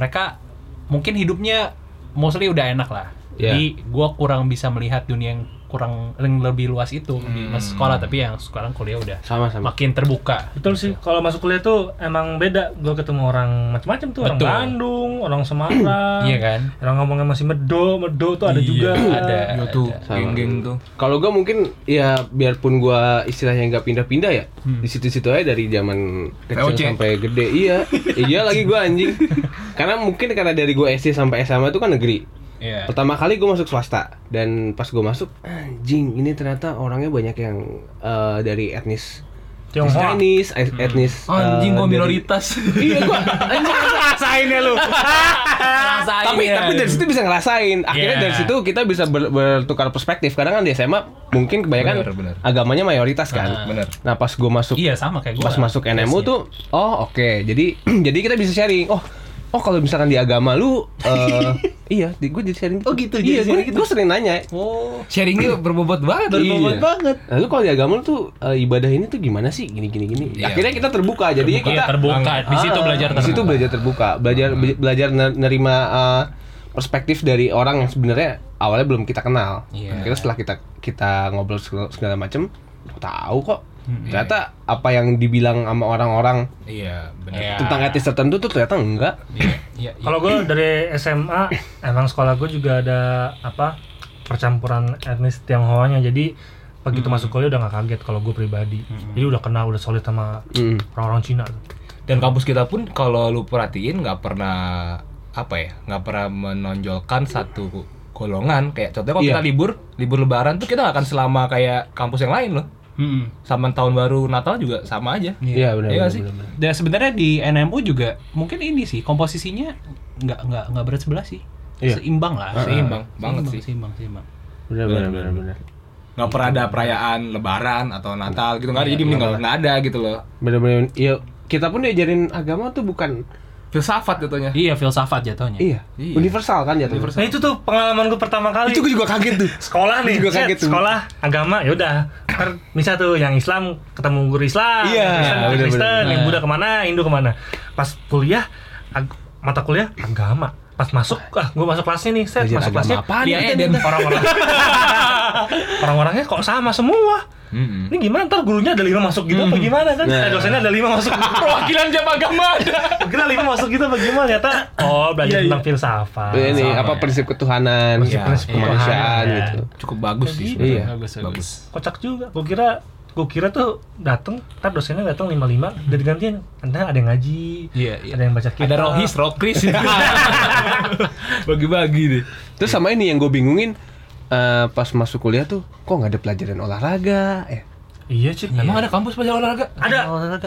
Speaker 3: mereka mungkin hidupnya mostly udah enak lah
Speaker 2: Ya.
Speaker 3: jadi gua kurang bisa melihat dunia yang kurang yang lebih luas itu di masa sekolah tapi yang sekarang kuliah udah
Speaker 2: Sama sama.
Speaker 3: makin terbuka
Speaker 1: Betul sih, kalau masuk kuliah tuh emang beda. Gue ketemu orang macam-macam tuh, orang
Speaker 3: Betul.
Speaker 1: Bandung, orang Semarang,
Speaker 3: iya kan Iya,
Speaker 1: orang ngomongnya masih medo, medo tuh ada juga.
Speaker 3: ada
Speaker 4: Iya,
Speaker 5: Yo tuh,
Speaker 3: ada.
Speaker 2: Sama.
Speaker 5: geng-geng tuh.
Speaker 2: Kalau gua mungkin ya biarpun gua istilahnya nggak pindah-pindah ya di situ-situ aja dari zaman kecil
Speaker 4: VOC.
Speaker 2: sampai gede iya iya lagi gua anjing karena mungkin karena dari gua SD sampai SMA itu kan negeri
Speaker 3: Iya.
Speaker 2: pertama kali gua masuk swasta dan pas gua masuk anjing ini ternyata orangnya banyak yang eh, dari etnis
Speaker 1: Tionghoa.
Speaker 2: Chinese et- etnis eh,
Speaker 4: Ah,
Speaker 5: Anjing gua
Speaker 2: dari-
Speaker 5: minoritas.
Speaker 2: iya gua anjing
Speaker 1: Rasainnya lu.
Speaker 3: Rasain
Speaker 2: tapi
Speaker 3: ya.
Speaker 2: tapi dari situ bisa ngerasain akhirnya
Speaker 3: Iya.
Speaker 2: dari situ kita bisa ber- bertukar perspektif kadang kan di SMA mungkin kebanyakan
Speaker 4: Bener, bener.
Speaker 2: agamanya mayoritas kan
Speaker 4: bener
Speaker 2: nah pas gue masuk
Speaker 3: Ah, Iya sama kayak gue.
Speaker 2: pas masuk NMU tuh oh oke jadi jadi kita bisa sharing oh oh kalau misalkan di agama lu eh, iya di gue jadi sharing oh gitu iya gue sering nanya
Speaker 3: Oh.
Speaker 4: sharingnya berbobot banget
Speaker 2: Iya. banget. Lalu kalau di agama lu tuh eh, ibadah ini tuh gimana sih? Gini gini gini.
Speaker 4: Iya.
Speaker 2: Akhirnya kita terbuka. Jadinya
Speaker 3: Iya,
Speaker 2: kita
Speaker 3: terbuka. Di situ
Speaker 2: Ah,
Speaker 3: belajar
Speaker 2: Di situ
Speaker 3: terbuka.
Speaker 2: belajar terbuka. Belajar be- belajar ner- nerima eh, perspektif dari orang yang sebenarnya awalnya belum kita kenal.
Speaker 3: Iya.
Speaker 2: Akhirnya setelah kita kita ngobrol segala, segala macam, tahu kok. Ternyata apa yang dibilang sama orang-orang
Speaker 4: iya bener
Speaker 3: Iya.
Speaker 2: tentang etis tertentu tuh ternyata enggak.
Speaker 3: Iya. iya.
Speaker 1: Kalau gue dari SMA, emang sekolah gue juga ada apa percampuran etnis Tionghoanya. Jadi begitu
Speaker 3: Hmm.
Speaker 1: masuk kuliah udah nggak kaget kalau gue pribadi. Jadi udah kenal, udah solid sama
Speaker 2: Mm.
Speaker 3: Hmm.
Speaker 1: orang-orang Cina. tuh.
Speaker 4: dan kampus kita pun kalau lu perhatiin nggak pernah apa ya nggak pernah menonjolkan satu golongan kayak contohnya kalau
Speaker 2: Iya.
Speaker 4: kita libur libur lebaran tuh kita nggak akan selama kayak kampus yang lain loh
Speaker 3: Mm-mm.
Speaker 4: sama tahun baru natal juga sama aja
Speaker 2: Iya benar.
Speaker 4: Iya
Speaker 2: benar,
Speaker 4: sih?
Speaker 2: benar, benar.
Speaker 3: Dan sebenarnya di NMU juga mungkin ini sih komposisinya nggak nggak nggak berat sebelah sih.
Speaker 2: Iya.
Speaker 3: Seimbang lah.
Speaker 4: Seimbang banget sih.
Speaker 3: Seimbang seimbang.
Speaker 2: Benar benar benar benar.
Speaker 4: nggak pernah ada perayaan lebaran atau natal gitu nggak ada jadi mending nggak nggak ada gitu loh
Speaker 2: Benar benar. Iya, kita pun diajarin agama tuh bukan
Speaker 4: filsafat jatuhnya
Speaker 3: Iya filsafat jatuhnya.
Speaker 2: iya,
Speaker 4: Iya.
Speaker 2: universal kan jatuhnya.
Speaker 1: Nah itu tuh pengalaman gue pertama kali.
Speaker 2: Itu gue juga kaget tuh.
Speaker 1: sekolah nih
Speaker 2: Juga gitu.
Speaker 1: set,
Speaker 2: kaget tuh.
Speaker 1: Iya, sekolah agama ya udah ntar bisa tuh yang Islam ketemu guru Islam
Speaker 2: Iya,
Speaker 1: yang Kristen ketemu
Speaker 2: bener-bener. Iya.
Speaker 1: Kristen yang Buddha kemana Hindu kemana pas kuliah ag- mata kuliah agama pas masuk ah gue masuk kelasnya nih set
Speaker 2: Belajar
Speaker 1: masuk
Speaker 2: agama
Speaker 1: kelasnya
Speaker 2: apaan
Speaker 1: dia
Speaker 4: nih,
Speaker 1: Eden orang-orang orang-orangnya kok sama semua
Speaker 4: Mm-mm.
Speaker 1: ini gimana ntar gurunya ada lima masuk gitu apa gimana kan
Speaker 2: Hmm. Nah.
Speaker 1: Eh, dosennya ada lima masuk perwakilan jam agama ada kita lima masuk gitu apa gimana ternyata oh belajar tentang filsafat
Speaker 2: Iya, ini
Speaker 4: sama
Speaker 2: apa
Speaker 4: ya.
Speaker 2: prinsip ketuhanan,
Speaker 1: Prinsip- prinsip
Speaker 2: kemanusiaan
Speaker 1: ketuhanan, ya.
Speaker 2: gitu.
Speaker 4: cukup bagus sih
Speaker 2: Iya.
Speaker 4: bagus
Speaker 1: kocak juga gue kira gue kira tuh dateng, ntar dosennya dateng lima lima, udah digantiin. Anda ada yang ngaji,
Speaker 3: Iya, iya.
Speaker 1: ada yang baca kitab.
Speaker 4: Ada Rohis, Rokris. Bagi-bagi deh.
Speaker 2: Terus sama ini yang gue bingungin eh, pas masuk kuliah tuh kok nggak ada pelajaran olahraga ya?
Speaker 1: Iya sih.
Speaker 3: Emang ada kampus pelajaran olahraga?
Speaker 1: Ada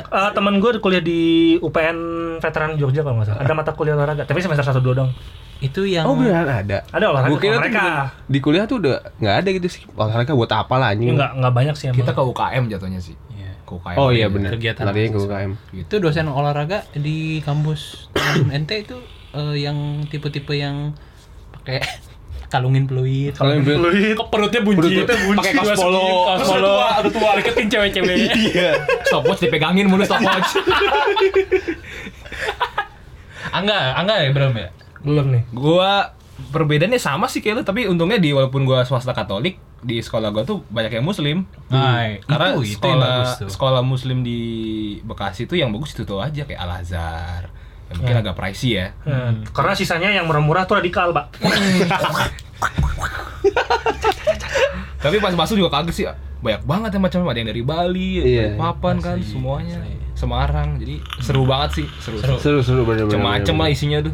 Speaker 1: eh, teman gue kuliah di UPN Veteran Jogja kalau nggak salah. Ada mata kuliah olahraga, tapi semester satu dua dong.
Speaker 3: Itu yang
Speaker 2: Oh beneran ada.
Speaker 1: Ada olahraga
Speaker 2: Gua kira
Speaker 1: sama
Speaker 2: tuh
Speaker 1: mereka.
Speaker 2: bener- di kuliah tuh udah nggak ada gitu sih olahraga buat apa lah
Speaker 1: Ini
Speaker 2: anjing.
Speaker 1: nggak nggak banyak sih emang.
Speaker 4: Kita ke UKM jatuhnya sih.
Speaker 3: Iya.
Speaker 4: Ke UKM.
Speaker 2: Oh iya bener.
Speaker 3: Kegiatan
Speaker 2: Larinya ke
Speaker 3: mahasiswa.
Speaker 2: UKM.
Speaker 3: Itu dosen olahraga di kampus Tanjung NT itu eh, yang tipe-tipe yang pakai kalungin peluit.
Speaker 2: Kalau yang bilang-
Speaker 3: Ke perutnya bunci.
Speaker 2: Perutnya bunci.
Speaker 3: Pakai kaos polo, kaos polo. Iya. Aduh tua, deketin cewek-cewek.
Speaker 4: Iya. Stopwatch dipegangin mulu stopwatch.
Speaker 3: Angga, Angga ya belum ya?
Speaker 1: Belum nih.
Speaker 4: gua perbedaannya sama sih kayak lu, tapi untungnya di walaupun gua swasta Katolik, di sekolah gua tuh banyak yang muslim. Eh,
Speaker 3: Nah,
Speaker 4: Karena
Speaker 3: itu itu yang
Speaker 4: sekolah
Speaker 3: bagus tuh.
Speaker 4: sekolah muslim di Bekasi tuh yang bagus itu tuh aja kayak Al Azhar. Ya, mungkin
Speaker 3: Iya.
Speaker 4: agak pricey ya.
Speaker 1: Hmm. Karena sisanya yang murah-murah tuh radikal, Pak.
Speaker 4: Tapi pas masuk juga kaget sih banyak banget yang macam ada yang dari Bali,
Speaker 2: Iya.
Speaker 4: Papan kan
Speaker 3: Asli,
Speaker 4: semuanya,
Speaker 3: asli.
Speaker 4: Semarang. Jadi seru banget sih, seru. seru.
Speaker 2: Seru seru bener bener.
Speaker 4: Macem-macem lah iya.
Speaker 2: bener.
Speaker 4: isinya tuh.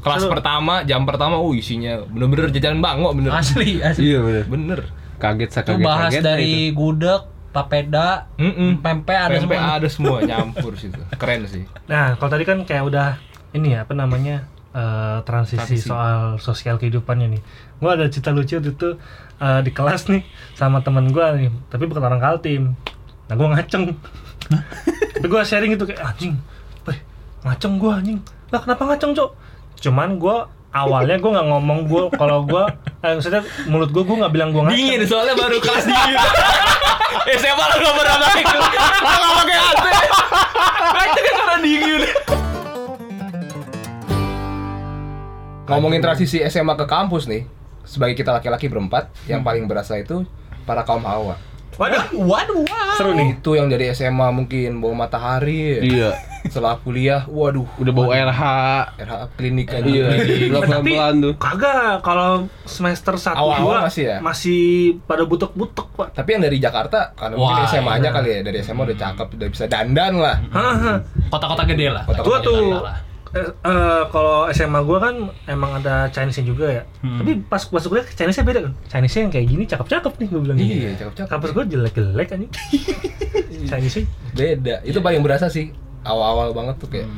Speaker 4: Kelas
Speaker 1: Seru.
Speaker 4: pertama, jam pertama, oh isinya bener-bener jajanan bango bener.
Speaker 3: Asli, asli.
Speaker 2: Iya bener.
Speaker 4: Bener.
Speaker 2: Kaget saya
Speaker 3: Itu
Speaker 2: kaget.
Speaker 3: bahas dari gudeg, papeda,
Speaker 4: Mm-mm.
Speaker 3: pempek ada
Speaker 4: PMP
Speaker 3: semua.
Speaker 4: ada semua nyampur situ. Keren sih.
Speaker 1: Nah, kalau tadi kan kayak udah ini ya apa namanya eh, transisi,
Speaker 4: Transisi.
Speaker 1: soal sosial kehidupannya nih. Gua ada cerita lucu waktu itu eh, di kelas nih sama temen gua nih, tapi bukan orang kaltim. Nah, gua ngaceng. tapi gua sharing itu kayak anjing, weh ngaceng gua anjing. Lah kenapa ngaceng cok? Cuman gua awalnya gua nggak ngomong gua kalau gua eh, maksudnya mulut gua gua nggak bilang gua ngaceng.
Speaker 4: Dingin soalnya baru kelas dingin. eh siapa lo gak pernah pakai lo gak pakai AC. Itu kan karena dingin. Ngomongin transisi SMA ke kampus nih, sebagai kita laki-laki berempat, yang paling berasa itu para kaum hawa.
Speaker 1: Waduh, uh,
Speaker 3: Waduh, waduh.
Speaker 1: seru nih.
Speaker 4: Itu yang dari SMA mungkin bawa matahari.
Speaker 2: Iya.
Speaker 4: Setelah kuliah, waduh,
Speaker 2: Udah bau RH.
Speaker 4: RH klinik aja.
Speaker 2: Iya. Lo pelan
Speaker 1: Tapi
Speaker 2: pelan tuh.
Speaker 1: kagak kalau semester 1 2
Speaker 4: Awal-awal masih ya?
Speaker 1: masih pada butek-butek, Pak.
Speaker 4: Tapi yang dari Jakarta, karena
Speaker 3: Wah,
Speaker 4: mungkin SMA-nya
Speaker 1: iya.
Speaker 4: kali ya, dari SMA udah cakep, udah bisa dandan lah.
Speaker 1: Haha.
Speaker 3: Kota-kota gede lah.
Speaker 4: Kota-
Speaker 1: Gua
Speaker 4: Takut
Speaker 1: tuh
Speaker 3: jadi masalah.
Speaker 1: eh, eh, kalau SMA gua kan emang ada Chinese-nya juga ya. Tapi pas masuk kuliah Chinese-nya beda kan. Chinese-nya yang kayak gini cakep-cakep nih gua bilang.
Speaker 4: Iya,
Speaker 1: gini.
Speaker 4: cakep-cakep.
Speaker 1: Kampus gua jelek-jelek anjing. Chinese-nya
Speaker 4: Beda. Itu paling berasa sih awal-awal banget tuh kayak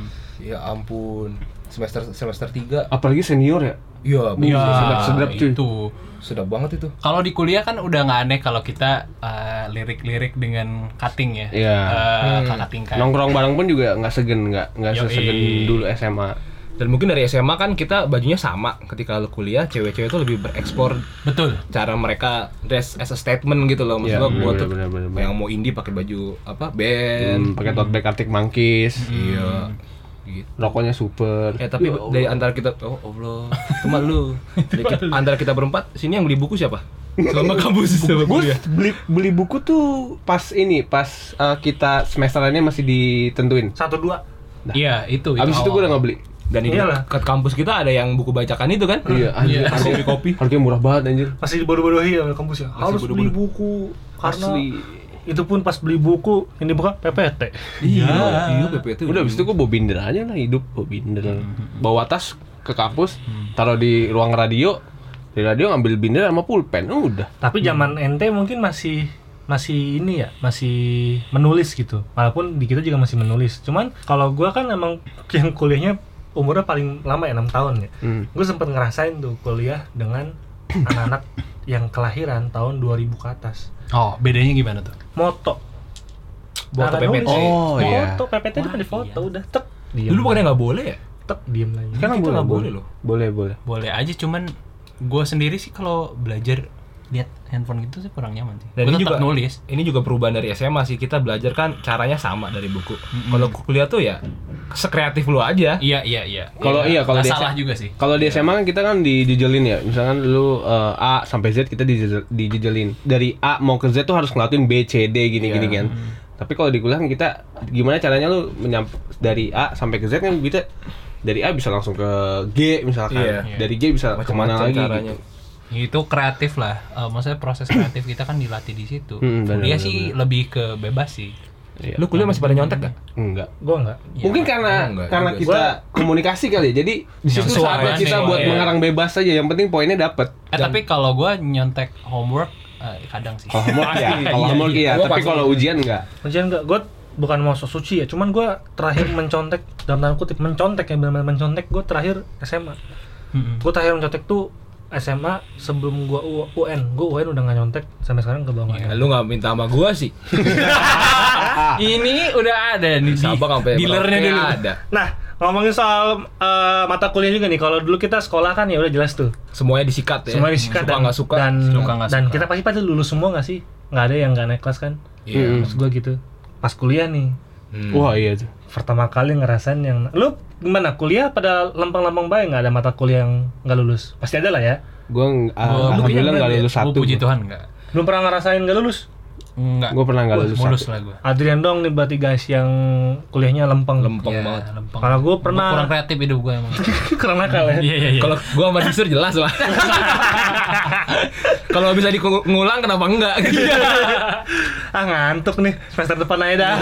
Speaker 4: ya ampun semester semester 3.
Speaker 2: Apalagi senior ya.
Speaker 4: Iya, bu,
Speaker 3: Iya,
Speaker 2: sedap-sedap, cuy.
Speaker 3: itu.
Speaker 4: sedap banget itu.
Speaker 3: Kalau di kuliah kan udah nggak aneh kalau kita eh, lirik-lirik dengan cutting ya.
Speaker 2: Iya.
Speaker 3: Eh, kakak tingkat.
Speaker 2: Nongkrong bareng pun juga nggak segen nggak nggak
Speaker 3: Yoi.
Speaker 2: sesegen dulu SMA.
Speaker 4: Dan mungkin dari SMA kan kita bajunya sama. Ketika lu kuliah, cewek-cewek tuh lebih bereksplor
Speaker 3: Betul.
Speaker 4: cara mereka dress as a statement gitu loh. Maksud
Speaker 2: Iya,
Speaker 4: gua, gua
Speaker 2: bener,
Speaker 4: tuh
Speaker 2: bener, bener, bener.
Speaker 4: yang mau indie pakai baju apa? Band.
Speaker 2: Hmm, pakai tote bag Arctic Monkeys.
Speaker 4: Iya. Gitu.
Speaker 2: Rokoknya super.
Speaker 4: Ya tapi dari antara kita oh Allah, cuma lu. Dari kita- antara kita berempat, sini yang beli buku siapa? Selama kampus selama
Speaker 2: Gue
Speaker 4: kuliah.
Speaker 2: beli beli buku tuh pas ini pas uh, kita semesterannya masih ditentuin.
Speaker 1: satu dua.
Speaker 3: Iya, itu.
Speaker 2: Nah. Abis itu gue udah
Speaker 3: awal.
Speaker 2: nggak beli.
Speaker 4: Dan ini
Speaker 1: Iyalah.
Speaker 4: ke kampus kita ada yang buku bacakan itu kan?
Speaker 2: Iya, anjir.
Speaker 3: Iya.
Speaker 2: harga-
Speaker 4: Kopi-kopi.
Speaker 2: Harganya murah banget anjir.
Speaker 1: Masih dibodoh-bodohi ya kampus ya. Harus beli buku karena
Speaker 2: Asli.
Speaker 1: itu pun pas beli buku yang dibuka PPT.
Speaker 4: Iya, iya PPT.
Speaker 2: Udah abis itu gue bawa binder aja lah hidup, bawa binder. Bawa tas ke kampus, taruh di ruang radio. Di radio ngambil binder sama pulpen. Udah.
Speaker 1: Tapi zaman ente mungkin masih masih ini ya, masih menulis gitu. Walaupun di kita juga masih menulis. Cuman kalau gua kan emang yang kuliahnya umurnya paling lama ya 6 tahun ya.
Speaker 2: Hmm.
Speaker 1: Gue sempet ngerasain tuh kuliah dengan anak-anak yang kelahiran tahun 2000 ke atas.
Speaker 3: Oh, bedanya gimana tuh?
Speaker 1: Moto.
Speaker 4: Moto
Speaker 1: Cara
Speaker 4: PPT.
Speaker 1: nulis.
Speaker 2: Oh, iya.
Speaker 1: Moto PPT itu kan di foto
Speaker 3: iya.
Speaker 1: udah tek. Diem.
Speaker 4: Dulu bukannya nggak boleh ya?
Speaker 1: tek diem lagi.
Speaker 2: Kan
Speaker 4: Kita
Speaker 2: boleh,
Speaker 4: nggak boleh
Speaker 2: boleh
Speaker 4: loh.
Speaker 2: Boleh, boleh.
Speaker 3: Boleh aja, cuman gue sendiri sih kalau belajar lihat handphone gitu sih kurang nyaman sih.
Speaker 4: Dan
Speaker 3: Gua
Speaker 4: ini
Speaker 3: tetap
Speaker 4: juga
Speaker 3: nulis.
Speaker 4: Ini juga perubahan dari SMA sih. Kita belajar kan caranya sama dari buku. Kalau kuliah tuh ya sekreatif lu aja.
Speaker 3: Iya, iya, iya.
Speaker 2: Kalau- iya, kalau
Speaker 3: Nggak
Speaker 2: dia-
Speaker 3: salah juga sih.
Speaker 2: Kalau di SMA kan kita kan dijejelin ya. Misalkan lu eh, A sampai Z kita dijejel- dijejelin. Dari A mau ke Z tuh harus ngelakuin B C D gini gini kan. Tapi kalau di kuliah kan kita gimana caranya lu menyamp dari A sampai ke Z kan kita dari A bisa langsung ke G misalkan.
Speaker 4: Iya.
Speaker 2: Dari G bisa kemana
Speaker 4: Macam-macam
Speaker 2: lagi
Speaker 4: caranya.
Speaker 2: gitu.
Speaker 3: itu kreatif lah Eh, maksudnya proses kreatif kita kan dilatih di situ
Speaker 2: Hmm, benar,
Speaker 3: kuliah
Speaker 2: benar,
Speaker 3: sih lebih ke bebas sih
Speaker 2: Iya.
Speaker 4: Lu kuliah masih pada nyontek gak?
Speaker 2: Enggak.
Speaker 1: Gue enggak.
Speaker 3: Ya,
Speaker 2: Mungkin karena
Speaker 4: enggak
Speaker 2: karena
Speaker 4: juga
Speaker 2: kita komunikasi kali ya. Jadi di
Speaker 3: Yang
Speaker 2: situ saatnya
Speaker 3: suaranya
Speaker 2: kita
Speaker 3: nih,
Speaker 2: buat
Speaker 3: iya.
Speaker 2: mengarang bebas aja. Yang penting poinnya dapat.
Speaker 3: eh, tapi kalau gua nyontek homework eh, kadang sih
Speaker 2: Kalau homework ya, kalau homework iya,
Speaker 4: Gua
Speaker 2: tapi
Speaker 4: pasti.
Speaker 2: kalau ujian enggak.
Speaker 1: Ujian enggak. Gue bukan mau sok suci ya, cuman gue terakhir mencontek dalam tanda kutip mencontek ya benar-benar mencontek gue terakhir SMA.
Speaker 3: Mm-mm.
Speaker 1: Gue terakhir mencontek tuh SMA sebelum gue UN. Gue UN udah nggak nyontek sampai sekarang ke bawah.
Speaker 4: Ya, lu gak minta sama gua sih.
Speaker 3: ini udah ada nih di
Speaker 4: Sabang sampai
Speaker 3: dealernya
Speaker 4: Merauke
Speaker 3: dulu
Speaker 4: ada.
Speaker 1: Nah, ngomongin soal eh, mata kuliah juga nih. Kalau dulu kita sekolah kan ya udah jelas tuh.
Speaker 4: Semuanya disikat ya.
Speaker 1: Semua disikat
Speaker 4: Suka
Speaker 1: dan,
Speaker 4: nggak suka.
Speaker 1: dan,
Speaker 3: Suka nggak
Speaker 1: dan
Speaker 3: suka.
Speaker 1: kita pasti pada lulus semua nggak sih? Nggak ada yang nggak naik kelas kan?
Speaker 2: Mm.
Speaker 1: Maksud gua gitu. Pas kuliah nih,
Speaker 4: Hmm.
Speaker 2: Wah iya tuh.
Speaker 1: pertama kali ngerasain yang lu gimana kuliah pada lempeng-lempeng baik nggak ada mata kuliah yang nggak lulus pasti ada lah ya
Speaker 2: Gue
Speaker 3: Gua-
Speaker 2: ah, alhamdulillah nggak ya? lulus
Speaker 3: Gua
Speaker 2: satu.
Speaker 3: puji Tuhan enggak
Speaker 1: belum pernah ngerasain nggak lulus
Speaker 3: enggak
Speaker 2: Gue pernah nggak
Speaker 3: Wah,
Speaker 2: lulus
Speaker 3: mulus
Speaker 2: satu.
Speaker 3: lah gua
Speaker 1: Adrian dong nih berarti guys yang kuliahnya lempeng
Speaker 4: Lempeng
Speaker 3: Ya,
Speaker 4: banget.
Speaker 3: lempeng.
Speaker 1: Kalau gua pernah-
Speaker 3: kurang kreatif hidup gua emang
Speaker 1: karena nakal ya
Speaker 3: iya iya iya
Speaker 4: Kalau gua sama Disur jelas lah. Kalau bisa diulang kenapa enggak? Gitu.
Speaker 1: ah ngantuk nih semester depan aja dah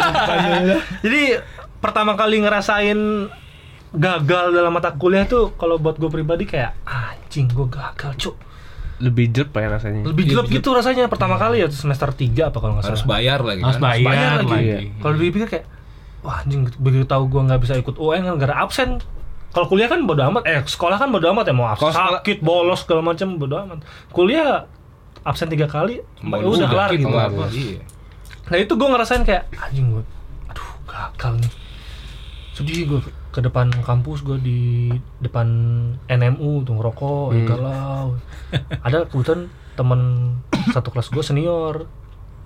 Speaker 1: jadi pertama kali ngerasain gagal dalam mata kuliah tuh kalau buat gue pribadi kayak "Ah, anjing gue gagal cuk
Speaker 2: Lebih jelek ya rasanya.
Speaker 1: lebih jelek gitu rasanya pertama kali ya semester 3 apa kalau nggak salah
Speaker 4: Harus bayar lagi
Speaker 3: harus
Speaker 4: kan.
Speaker 1: bayar
Speaker 3: bayar
Speaker 1: lagi.
Speaker 3: lagi
Speaker 1: Kalau dipikir kayak wah anjing begitu tahu gua nggak bisa ikut UN kan gara absen. Kalau kuliah kan bodo amat, eh sekolah kan bodo amat ya mau absen,
Speaker 2: Kalau sekolah-
Speaker 1: sakit, bolos segala macam bodo amat. Kuliah absen tiga kali,
Speaker 4: Mau
Speaker 1: ya udah
Speaker 4: dulu,
Speaker 1: kelar gitu.
Speaker 4: kelar.
Speaker 1: Bos.
Speaker 4: Iya.
Speaker 1: Nah itu gua ngerasain kayak anjing gua, aduh gagal nih. Sedih gua ke depan kampus gua di depan NMU tuh ngerokok, ya galau. Ada kebetulan temen satu kelas gua senior,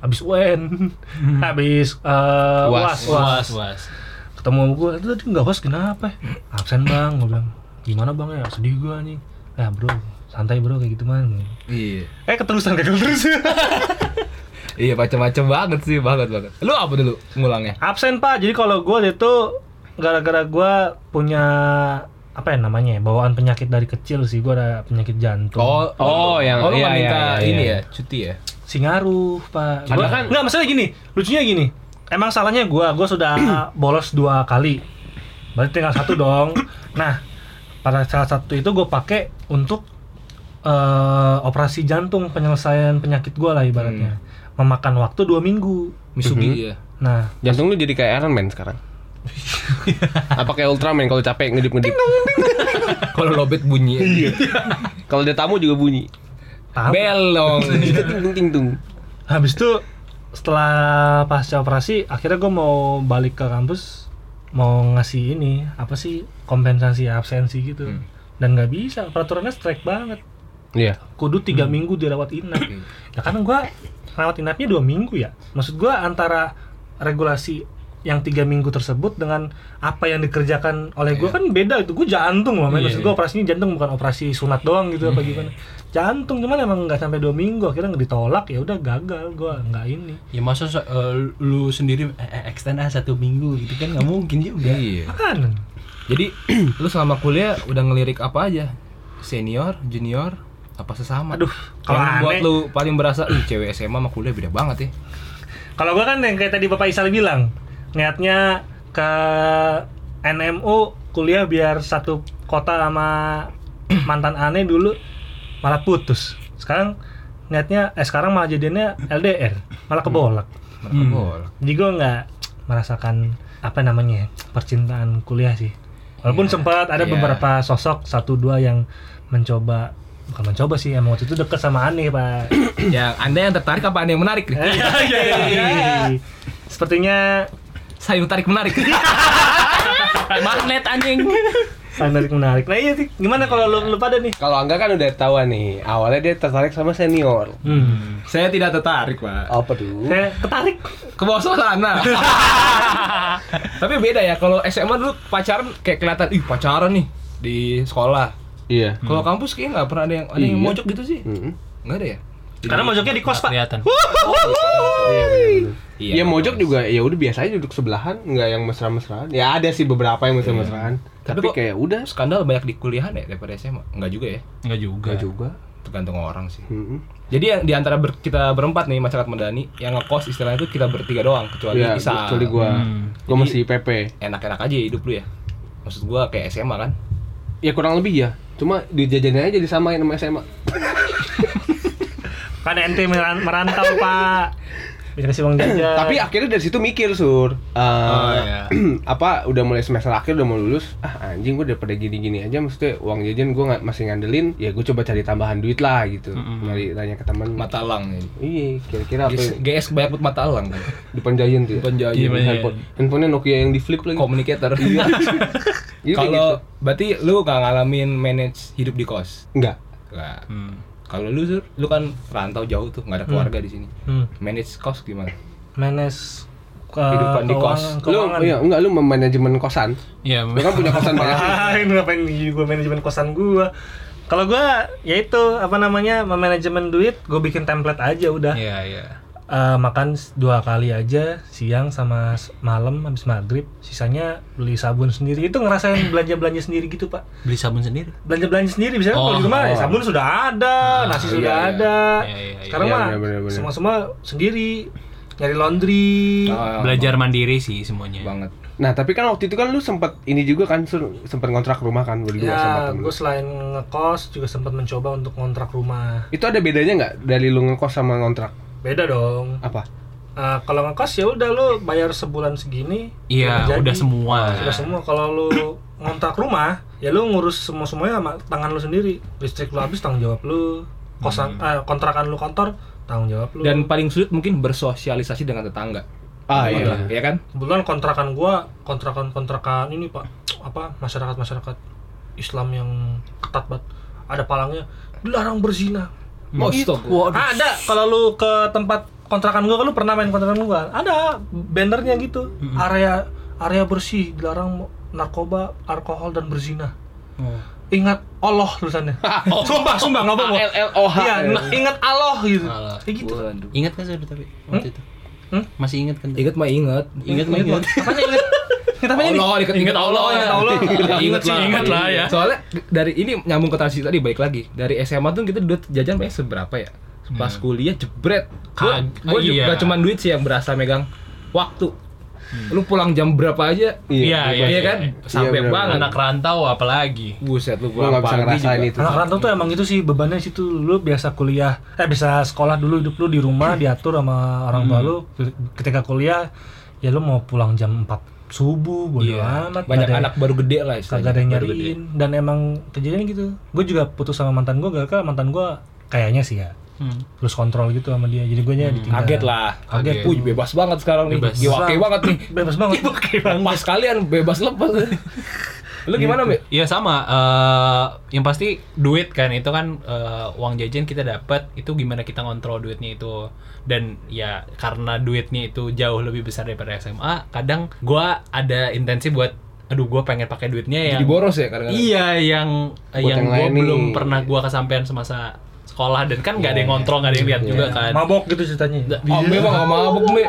Speaker 1: habis UN, habis eh,
Speaker 2: Was.
Speaker 1: Hmm. was, was
Speaker 3: was was
Speaker 1: ketemu sama gue itu tadi nggak host kenapa absen bang gue bilang gimana bang ya sedih gue anjing nah bro santai bro kayak gitu man
Speaker 4: Iya.
Speaker 1: eh keterusan gagal terus
Speaker 4: Iya macam-macam banget sih, banget banget. Lu apa dulu ngulangnya?
Speaker 1: absen pak jadi kalau gue itu gara-gara gue punya apa ya namanya ya, bawaan penyakit dari kecil sih gue ada penyakit jantung
Speaker 2: Oh, yang-
Speaker 4: oh, lu
Speaker 2: iya, iya,
Speaker 4: nggak minta
Speaker 2: iya, iya.
Speaker 4: ini ya, cuti ya.
Speaker 1: Singaruh, Pak.
Speaker 2: Padahal
Speaker 1: Gua,
Speaker 2: kan-
Speaker 1: nggak masalah gini, lucunya gini. Emang salahnya gua, gua sudah bolos dua kali. Berarti tinggal satu dong. Nah, pada salah satu itu gue pakai untuk eh, operasi jantung penyelesaian penyakit gua lah ibaratnya.
Speaker 2: Hmm.
Speaker 1: Memakan waktu dua minggu.
Speaker 4: Misugi
Speaker 2: Mhm.
Speaker 4: ya.
Speaker 1: Nah,
Speaker 2: Jantung lu jadi kayak Iron Man sekarang. Apa kayak Ultraman kalau capek ngedip-ngedip.
Speaker 4: Kalau lobet bunyi. Iya.
Speaker 2: Kalau ada tamu juga bunyi.
Speaker 1: tahap-
Speaker 4: Belong.
Speaker 2: Iya. Ting tung.
Speaker 1: habis itu setelah pasca operasi, akhirnya gua mau balik ke kampus mau ngasih ini apa sih kompensasi absensi gitu. Dan nggak bisa, peraturannya strike banget.
Speaker 2: Iya.
Speaker 1: kudu tiga minggu dirawat inap ya kan gua rawat inapnya dua minggu ya maksud gua antara regulasi yang tiga minggu tersebut dengan apa yang dikerjakan oleh gua kan beda itu gua jantung loh men. maksud gua operasinya jantung bukan operasi sunat doang gitu apa gimana jantung cuman emang nggak sampai dua minggu akhirnya ditolak ya udah gagal gua nggak ini
Speaker 3: ya masa so- eh, lu sendiri eh, eh, extend ah satu minggu gitu kan nggak mungkin juga
Speaker 4: Iya.
Speaker 1: kan
Speaker 4: Jadi lu selama kuliah udah ngelirik apa aja? Senior, junior, apa sesama?
Speaker 1: Aduh, kalau
Speaker 4: Yang buat
Speaker 1: aneh.
Speaker 4: lu paling berasa, ih cewek SMA sama kuliah beda banget ya.
Speaker 1: Kalau gua kan yang kayak tadi Bapak Isal bilang, niatnya ke NMU kuliah biar satu kota sama mantan aneh dulu malah putus. Sekarang niatnya eh sekarang malah jadinya LDR, malah kebolak.
Speaker 4: Mereka bola.
Speaker 1: Jadi gua nggak merasakan apa namanya ya, percintaan kuliah sih. Walaupun sempat ada
Speaker 4: iya.
Speaker 1: beberapa sosok satu dua yang mencoba bukan mencoba sih emang waktu itu deket sama aneh pak
Speaker 4: yang anda yang tertarik apa anda yang menarik nih? iya,
Speaker 1: sepertinya
Speaker 4: Saya yang tarik menarik.
Speaker 3: magnet anjing
Speaker 1: menarik menarik nah iya Tik. gimana kalau lu, lu pada nih
Speaker 2: Kalau Angga kan udah tahu nih, awalnya dia tertarik sama senior.
Speaker 1: hmm.
Speaker 4: Saya tidak tertarik pak.
Speaker 2: Apa tuh?
Speaker 1: saya ketarik
Speaker 4: Ke bawah sana. Tapi beda ya kalau SMA dulu pacaran kayak kelihatan, ih pacaran nih di sekolah.
Speaker 2: Iya.
Speaker 4: Kalau kampus kayaknya nggak pernah ada yang ada yang
Speaker 2: Iya.
Speaker 4: mojok gitu sih.
Speaker 2: Mm-mm.
Speaker 4: Nggak ada ya.
Speaker 1: karena mojoknya di kos
Speaker 3: Nggak
Speaker 1: pak
Speaker 3: kelihatan
Speaker 2: Iya, bener-bener.
Speaker 4: Iya.
Speaker 2: Ya mojok juga ya udah biasa aja duduk sebelahan, nggak yang mesra-mesraan. Ya ada sih beberapa yang mesra-mesraan.
Speaker 4: Tapi
Speaker 2: Iya. Tapi,
Speaker 4: kok-
Speaker 2: kayak udah
Speaker 4: Skandal banyak di kuliahan ya daripada SMA. Nggak juga ya.
Speaker 2: iya.
Speaker 3: nggak juga
Speaker 2: enggak juga.
Speaker 4: tergantung orang sih.
Speaker 2: Mm-mm.
Speaker 4: Jadi yang di antara ber- kita berempat nih masyarakat Medani yang ngekos istilahnya itu kita bertiga doang kecuali
Speaker 2: Iya,
Speaker 4: Isa.
Speaker 2: kecuali gua.
Speaker 3: Hmm.
Speaker 2: Gua masih
Speaker 4: Jadi-
Speaker 2: PP.
Speaker 4: Enak-enak aja hidup lu ya. Maksud gua kayak SMA kan.
Speaker 2: Ya kurang lebih ya. Cuma di jajannya aja disamain sama SMA.
Speaker 1: Kan ente meran- merantau, Pak. Bisa kasih uang jajan.
Speaker 2: Tapi akhirnya dari situ mikir, Sur. Eh,
Speaker 5: iya.
Speaker 2: apa udah mulai semester akhir udah mau lulus. Ah, anjing gua daripada gini-gini aja maksudnya uang jajan gua nggak masih ngandelin, ya gua coba cari tambahan duit lah gitu. Nyari tanya ke teman.
Speaker 4: Mata elang ini.
Speaker 2: Iya, kira-kira apa?
Speaker 4: GS,
Speaker 2: yang-
Speaker 4: GS banyak buat mata elang kan.
Speaker 2: Depan Giant tuh. Ya?
Speaker 4: Bukan jauh
Speaker 3: Iya, bener.
Speaker 2: Handphone. Handphonenya Nokia yang di flip lagi.
Speaker 4: Communicator.
Speaker 2: Iya, kayak
Speaker 4: Kalau berarti lu gak ngalamin manage hidup di kos.
Speaker 2: Enggak.
Speaker 4: Nggak.
Speaker 3: Hmm.
Speaker 4: Kalau lu Sur, lu kan rantau jauh tuh, nggak ada keluarga di sini.
Speaker 1: Hmm.
Speaker 4: Manage kos gimana?
Speaker 1: Menes ke
Speaker 4: Kehidupan di kos.
Speaker 1: keuangan-
Speaker 2: Lu
Speaker 1: keuangan.
Speaker 2: iya, enggak lu manajemen kosan.
Speaker 3: Iya,
Speaker 2: Lu kan punya kosan banyak.
Speaker 1: Ngapain Ah, ngapain gue manajemen kosan gua. Kalau gua ya itu apa namanya manajemen duit, gue bikin template aja udah.
Speaker 3: iya, iya.
Speaker 1: Eh, makan s- dua kali aja siang sama s- malam habis maghrib sisanya beli sabun sendiri itu ngerasain belanja belanja sendiri gitu pak
Speaker 3: Beli sabun sendiri.
Speaker 1: belanja belanja sendiri bisa kalau
Speaker 3: Oh,
Speaker 1: di rumah ya,
Speaker 2: oh.
Speaker 1: sabun sudah ada nasi
Speaker 2: iya,
Speaker 1: sudah
Speaker 2: iya.
Speaker 1: ada
Speaker 3: Iya, iya, iya.
Speaker 1: sekarang
Speaker 2: Iya,
Speaker 1: mah
Speaker 2: bener, bener, bener.
Speaker 1: semua semua sendiri nyari laundry
Speaker 2: Ah,
Speaker 3: Belajar mandiri sih semuanya.
Speaker 4: banget.
Speaker 2: Nah, tapi kan waktu itu kan lu sempat ini juga kan Sur, sempat ngontrak rumah kan berdua sama
Speaker 1: ya
Speaker 2: temen.
Speaker 1: gue selain ngekos juga sempat mencoba untuk ngontrak rumah
Speaker 2: Itu ada bedanya nggak dari lu ngekos sama ngontrak?
Speaker 1: beda dong
Speaker 2: Apa?
Speaker 1: Eh, kalau ngekos ya udah lu bayar sebulan segini
Speaker 3: Iya,
Speaker 1: jadi.
Speaker 3: udah semua.
Speaker 1: Sudah semua kalau lu ngontrak rumah, ya lu ngurus semua semuanya sama tangan lu sendiri. Listrik lu habis tanggung jawab lu. Kosan eh,
Speaker 2: Hmm.
Speaker 1: kontrakan lu kantor tanggung jawab lu.
Speaker 4: Dan paling sulit mungkin bersosialisasi dengan tetangga.
Speaker 2: Ah
Speaker 4: Iya
Speaker 2: iya.
Speaker 4: ya kan?
Speaker 1: kebetulan kontrakan gua kontrakan-kontrakan ini Pak apa masyarakat-masyarakat Islam yang ketat banget. Ada palangnya dilarang berzina.
Speaker 4: Astaga.
Speaker 1: Ada kalau lu ke tempat kontrakan gua, lu pernah main kontrakan gua? Ada bannernya gitu. Area area bersih dilarang narkoba, alkohol dan berzina.
Speaker 3: Oh.
Speaker 1: Ingat Allah tulisannya. Sumpah, sumpah nggak bohong.
Speaker 2: L L O H.
Speaker 1: Iya,
Speaker 3: nah,
Speaker 1: na- ingat Allah gitu.
Speaker 3: Allah.
Speaker 1: Kayak gitu.
Speaker 4: Waduh.
Speaker 3: Ingat kan sudah tapi waktu itu?
Speaker 1: Hmm?
Speaker 3: Masih ingat kan?
Speaker 4: Ingat mah ingat.
Speaker 3: Ingat mah ingat.
Speaker 1: Apanya ingat? Ingat apanya nih?
Speaker 4: Allah, ingat, ingat Allah.
Speaker 1: Ingat Allah.
Speaker 3: Ingat sih, ingat lah ya.
Speaker 4: Soalnya dari ini nyambung ke transisi tadi balik lagi. Dari SMA tuh kita duit jajan paling seberapa ya? Pas kuliah jebret. Gua,
Speaker 3: Hmm. Kag-
Speaker 4: gua
Speaker 3: iya.
Speaker 4: juga cuman duit sih yang berasa megang waktu. Lu pulang jam berapa aja?
Speaker 3: Iya, iya,
Speaker 4: Iya kan? Sampai
Speaker 2: bener,
Speaker 4: banget.
Speaker 3: Anak rantau apalagi.
Speaker 4: Buset lu
Speaker 2: Gua nggak
Speaker 4: pulang
Speaker 2: bisa
Speaker 4: pagi
Speaker 2: ngerasain
Speaker 4: juga.
Speaker 2: itu.
Speaker 1: Anak rantau tuh emang gitu sih bebannya di situ lu biasa kuliah eh bisa sekolah dulu hidup lu di
Speaker 4: Hmm.
Speaker 1: rumah diatur sama orang tua lu ketika kuliah ya lu mau pulang jam 4 subuh bodo
Speaker 3: Iya,
Speaker 1: amat
Speaker 2: ya.
Speaker 4: Banyak ya.
Speaker 1: Nggak ada-
Speaker 4: anak baru gede lah
Speaker 1: kagak ada yang
Speaker 4: baru gede.
Speaker 1: nyariin dan emang kejadian gitu gue juga putus sama mantan gue gara-gara mantan gue kayaknya sih ya terus kontrol gitu sama dia jadi gue nya ditinggal
Speaker 4: Hmm. Kaget lah.
Speaker 1: Kaget.
Speaker 4: Puy, bebas banget sekarang nih.
Speaker 3: Bebas.
Speaker 4: Giwake banget nih.
Speaker 1: bebas banget
Speaker 4: Pas kalian bebas lepas. Lu gimana, Be?
Speaker 3: Iya sama. eh, yang pasti duit kan itu kan eh, uang jajan kita dapat itu gimana kita ngontrol duitnya itu dan ya karena duitnya itu jauh lebih besar daripada SMA. Kadang gua ada intensi buat aduh gua pengen pakai duitnya yang
Speaker 4: Jadi boros ya kadang-kadang.
Speaker 3: Iya yang yang,
Speaker 2: yang
Speaker 3: gua
Speaker 2: lain
Speaker 3: belum
Speaker 2: nih.
Speaker 3: pernah gua kesampaian semasa sekolah dan kan nggak ada yang ngontrol nggak ada yang lihat juga kan.
Speaker 1: mabok gitu ceritanya
Speaker 4: Oh, memang gak mabuk, Be.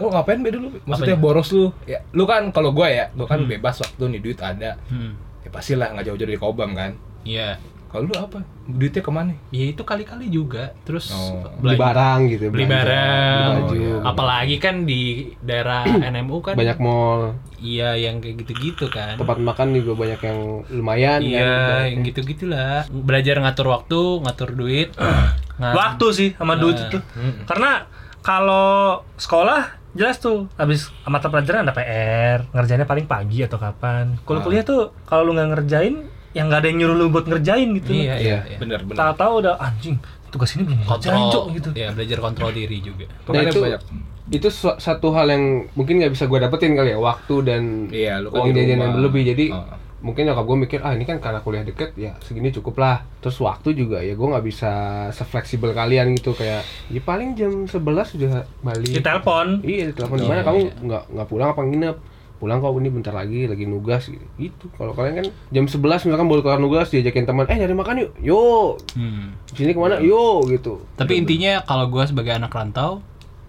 Speaker 4: Lu ngapain, Be, dulu? Be? Maksudnya
Speaker 3: Iya. Apanya? Iya.
Speaker 4: boros lu. Ya, lu kan kalau gua ya, gua kan bebas waktu nih duit ada.
Speaker 3: Hmm,
Speaker 4: Ya pastilah nggak jauh-jauh dari Kobam kan.
Speaker 3: Iya.
Speaker 4: Kalau lu apa? Duitnya kemana?
Speaker 3: Ya itu kali-kali juga. Terus
Speaker 4: Oh.
Speaker 2: Beli
Speaker 3: belanja-
Speaker 2: barang gitu,
Speaker 3: beli
Speaker 2: belanja,
Speaker 3: barang, Oh,
Speaker 2: beli baju.
Speaker 3: apalagi kan di daerah NMU kan
Speaker 2: Banyak mall,
Speaker 3: iya yang kayak gitu-gitu kan
Speaker 2: tempat makan juga banyak yang lumayan
Speaker 3: iya
Speaker 2: kan.
Speaker 3: yang gitu-gitulah belajar ngatur waktu ngatur duit Nah,
Speaker 1: waktu sih sama duit itu karena kalau sekolah jelas tuh habis mata pelajaran ada PR ngerjainnya paling pagi atau kapan kalau kuliah tuh kalau lu nggak ngerjain yang nggak ada yang nyuruh lu buat ngerjain gitu
Speaker 3: iya iya, iya.
Speaker 4: Bener, bener.
Speaker 1: tahu-tahu udah anjing tugas ini belum ngerjain Cok,"
Speaker 3: kontrol
Speaker 1: gitu
Speaker 3: ya belajar kontrol diri juga
Speaker 2: Nah,
Speaker 4: Pokoknya
Speaker 2: itu
Speaker 4: banyak.
Speaker 2: itu su- satu hal yang mungkin nggak bisa gua dapetin kali ya waktu dan
Speaker 4: Iya, lu kan
Speaker 2: uang
Speaker 4: di
Speaker 2: jajan yang
Speaker 4: rumah.
Speaker 2: berlebih jadi
Speaker 4: Oh.
Speaker 2: mungkin nyokap gue mikir ah ini kan karena kuliah deket ya segini cukup lah terus waktu juga ya gua nggak bisa sefleksibel kalian gitu kayak ya paling jam 11 sudah balik
Speaker 1: di telepon
Speaker 2: Iya, telepon di mana kamu nggak nggak pulang apa nginep? Pulang kok ini bentar lagi lagi nugas gitu. Gitu. Kalau kalian kan jam 11 misalkan baru kelar nugas diajakin teman, "Eh, nyari makan yuk." "Yuk."
Speaker 3: Hmm.
Speaker 2: "Sini kemana?" "Yuk." gitu.
Speaker 3: tapi intinya kalau gue sebagai anak rantau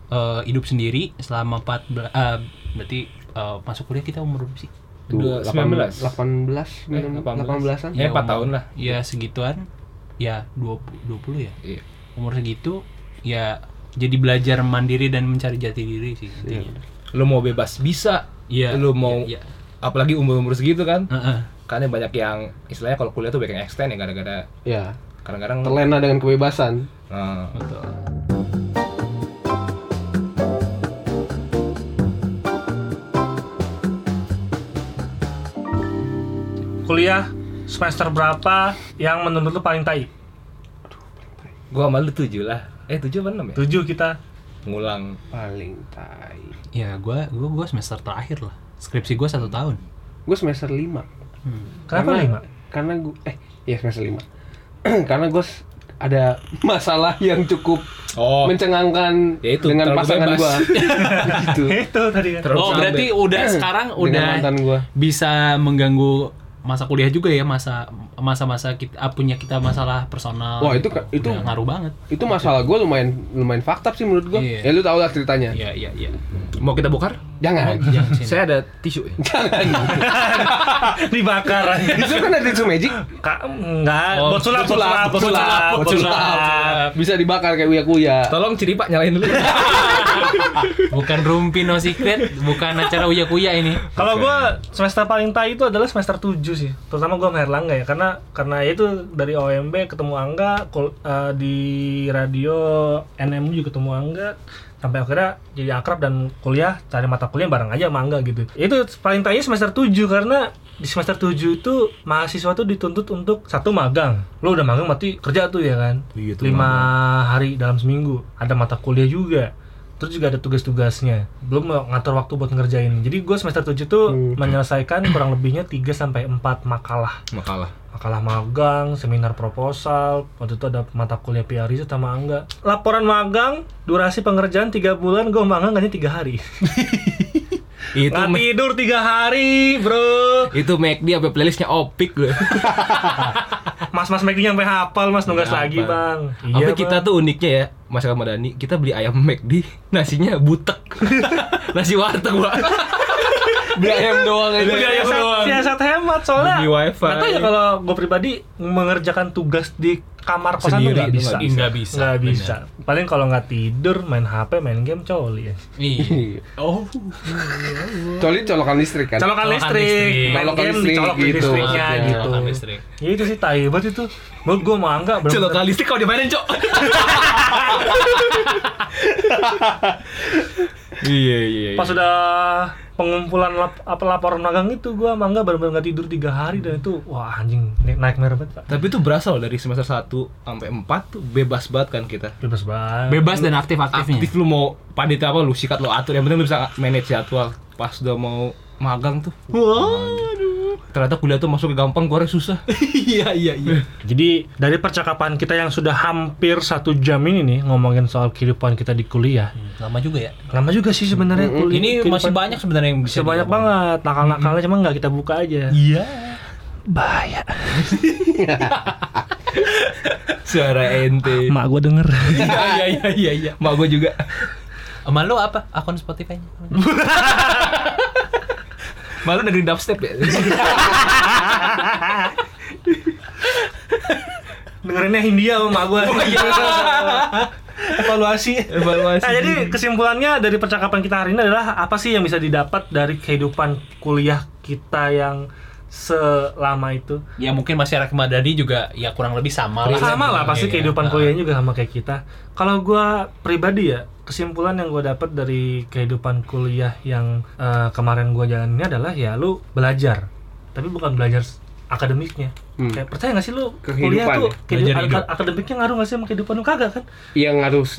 Speaker 3: eh, hidup sendiri selama 14 eh, berarti eh, masuk kuliah kita umur berapa sih
Speaker 4: Udah 19.
Speaker 2: 18
Speaker 4: Eh, 18.
Speaker 2: 18 an
Speaker 3: Ya,
Speaker 4: Ya, 4
Speaker 3: umur-
Speaker 4: tahun lah.
Speaker 3: ya segituan ya 20, 20 ya
Speaker 4: Iya.
Speaker 3: umur segitu ya jadi belajar mandiri dan mencari jati diri sih intinya.
Speaker 4: Lu mau bebas bisa.
Speaker 3: Iya.
Speaker 4: Lu mau
Speaker 3: Iya, Hmm. iya.
Speaker 4: apalagi umur-umur segitu kan.
Speaker 3: Heeh.
Speaker 4: Karena banyak yang istilahnya kalau kuliah tuh banyak yang extend ya gara-gara
Speaker 2: ya
Speaker 4: kadang-kadang
Speaker 2: terlena dengan kebebasan
Speaker 4: Nah,
Speaker 3: betul
Speaker 1: Kuliah semester berapa yang menurut lu paling tai?
Speaker 4: gua sama lu tujuh lah. Eh tujuh apa enam ya?
Speaker 1: Tujuh kita.
Speaker 4: Ngulang.
Speaker 2: paling tai
Speaker 3: ya gua gua gua semester terakhir lah skripsi gua satu tahun
Speaker 2: gue semester 5
Speaker 1: Kenapa
Speaker 2: karena,
Speaker 1: lima?
Speaker 2: Karena gue eh ya semester lima. karena gue s- ada masalah yang cukup
Speaker 4: Oh.
Speaker 2: mencengangkan
Speaker 4: Ya itu,
Speaker 2: dengan
Speaker 4: terlalu
Speaker 2: pasangan
Speaker 4: bebas.
Speaker 2: gue. gitu.
Speaker 1: Itu tadi kan.
Speaker 4: Terus
Speaker 3: oh
Speaker 4: sampai.
Speaker 3: berarti udah sekarang
Speaker 2: Dengan
Speaker 3: udah
Speaker 2: mantan gua.
Speaker 3: bisa mengganggu masa kuliah juga ya masa masa-masa kita ah, punya kita masalah personal
Speaker 2: Wah, itu ka-
Speaker 3: Udah
Speaker 2: itu-
Speaker 3: ngaruh banget
Speaker 2: Itu masalah gue lumayan lumayan fakta sih menurut gue.
Speaker 3: Iya.
Speaker 2: Ya lu tau lah ceritanya.
Speaker 3: Iya iya iya
Speaker 4: Mau kita bongkar?
Speaker 2: Jangan.
Speaker 3: Jangan sini.
Speaker 4: Saya ada tisu. ya.
Speaker 1: Dibakar aja.
Speaker 2: itu kan ada tisu magic
Speaker 1: Kak, enggak.
Speaker 3: Oh,
Speaker 1: bot sulap, bot sulap, bot sulap,
Speaker 2: bot
Speaker 1: bot
Speaker 2: sulap.
Speaker 1: sulap.
Speaker 2: bisa dibakar kayak uya kuya.
Speaker 4: Tolong ciri Pak nyalain dulu.
Speaker 3: bukan rumpi no secret bukan acara uya kuya ini
Speaker 1: Kalau gua semester paling tai itu adalah semester 7 sih. Terutama gua sama Erlangga ya karena karena ya itu dari OMB ketemu Angga kul- eh, di radio NMU juga ketemu Angga sampai akhirnya jadi akrab dan kuliah cari mata kuliah bareng aja sama Angga gitu. Itu paling tai semester 7 karena di semester 7 itu mahasiswa tuh dituntut untuk satu magang. Lu udah magang berarti kerja tuh ya kan.
Speaker 5: Iya tuh,
Speaker 1: Lima hari dalam seminggu. Ada mata kuliah juga terus juga ada tugas-tugasnya belum ngatur waktu buat ngerjain jadi gue semester 7 tuh
Speaker 4: Hmm.
Speaker 1: menyelesaikan kurang lebihnya 3 sampai 4 makalah
Speaker 4: Makalah.
Speaker 1: makalah magang, seminar proposal waktu itu ada mata kuliah PR itu sama Angga laporan magang, durasi pengerjaan 3 bulan, gue magang hanya 3 hari
Speaker 4: Itu
Speaker 1: nggak
Speaker 4: me-
Speaker 1: tidur 3 hari bro
Speaker 4: itu make dia apa playlistnya opik gue.
Speaker 2: Iya,
Speaker 1: mas-mas Megi nyampe hafal mas nugas lagi
Speaker 4: Nyampe.
Speaker 1: bang Iya,
Speaker 4: Apa Iya, kita
Speaker 1: Bang.
Speaker 4: tuh uniknya ya, Mas Ramadhani, kita beli ayam McD, nasinya butek. Nasi warteg, Pak.
Speaker 2: Beli ayam doang
Speaker 3: Iya,
Speaker 2: aja.
Speaker 4: Beli ayam
Speaker 1: siasat,
Speaker 4: doang.
Speaker 1: siasat hemat soalnya
Speaker 4: Beli wifi.
Speaker 1: nggak tahu ya kalau gue pribadi mengerjakan tugas di kamar kosan tuh
Speaker 4: Sendiri
Speaker 1: nggak
Speaker 4: tuh
Speaker 1: bisa
Speaker 4: nggak bisa.
Speaker 3: nggak bisa
Speaker 1: nggak
Speaker 3: bener.
Speaker 1: bisa paling kalau nggak tidur main HP main game coli ya
Speaker 3: iya
Speaker 2: Oh. Coli colokan listrik kan.
Speaker 1: colokan
Speaker 3: Colokan
Speaker 1: listrik
Speaker 3: listrik.
Speaker 1: main
Speaker 2: Colokan
Speaker 1: game
Speaker 2: listrik
Speaker 1: dicolok di
Speaker 2: gitu.
Speaker 1: listriknya
Speaker 2: Iya,
Speaker 1: gitu
Speaker 3: colokan listrik.
Speaker 1: ya itu sih tai banget itu menurut gue mah
Speaker 2: Oh.
Speaker 1: enggak bener
Speaker 4: Celok listrik kalau dimainin, Cok. Iya, iya.
Speaker 1: pas sudah pengumpulan lap- apa laporan magang itu gue mah enggak bener-bener nggak tidur tiga hari dan itu wah anjing nightmare banget pak
Speaker 4: Tapi tuh berasa loh dari semester 1 sampai 4 tuh bebas banget kan kita.
Speaker 1: bebas banget
Speaker 3: bebas dan aktif aktifnya
Speaker 4: Aktif lu mau panitia apa lu sikat lu atur, yang penting lu bisa manage jadwal. Pas udah mau magang tuh. Waduh. Ternyata kuliah tuh masuk gampang, keluar susah.
Speaker 5: Iya iya iya.
Speaker 1: Jadi dari percakapan kita yang sudah hampir satu jam ini nih ngomongin soal kehidupan kita di kuliah.
Speaker 3: lama juga ya
Speaker 1: Lama juga sih sebenarnya kuliah.
Speaker 3: ini
Speaker 1: kehidupan-
Speaker 3: masih banyak sebenarnya yang bisa
Speaker 1: masih banyak banget nakal-nakalnya cuma nggak kita buka aja.
Speaker 3: iya
Speaker 1: Bahaya.
Speaker 4: Suara ente.
Speaker 1: Mak gua denger.
Speaker 4: Iya iya iya
Speaker 3: Ah,
Speaker 4: iya. Mak gue juga.
Speaker 3: sama lu apa akun Spotify-nya
Speaker 4: Malu dengerin dubstep ya.
Speaker 1: Dengerinnya Hindia sama mak gua. Oh, iya. Evaluasi.
Speaker 4: Evaluasi.
Speaker 1: Nah, jadi kesimpulannya dari percakapan kita hari ini adalah apa sih yang bisa didapat dari kehidupan kuliah kita yang selama itu?
Speaker 3: ya mungkin masyarakat Madani juga ya kurang lebih sama lah
Speaker 1: sama lah pasti
Speaker 3: Iya,
Speaker 1: kehidupan
Speaker 3: iya.
Speaker 1: kuliahnya juga sama kayak kita kalau gua pribadi ya kesimpulan yang gua dapat dari kehidupan kuliah yang eh, kemarin gua jalaninnya adalah ya lu belajar tapi bukan belajar s- akademiknya
Speaker 2: Hmm.
Speaker 1: kayak percaya gak sih lu kuliah
Speaker 2: Kehidupan
Speaker 1: tuh
Speaker 2: ya?
Speaker 1: kehidupan
Speaker 3: Belajar hidup.
Speaker 1: akademiknya ngaruh gak sih sama kehidupan lu kagak kan
Speaker 2: Yang harus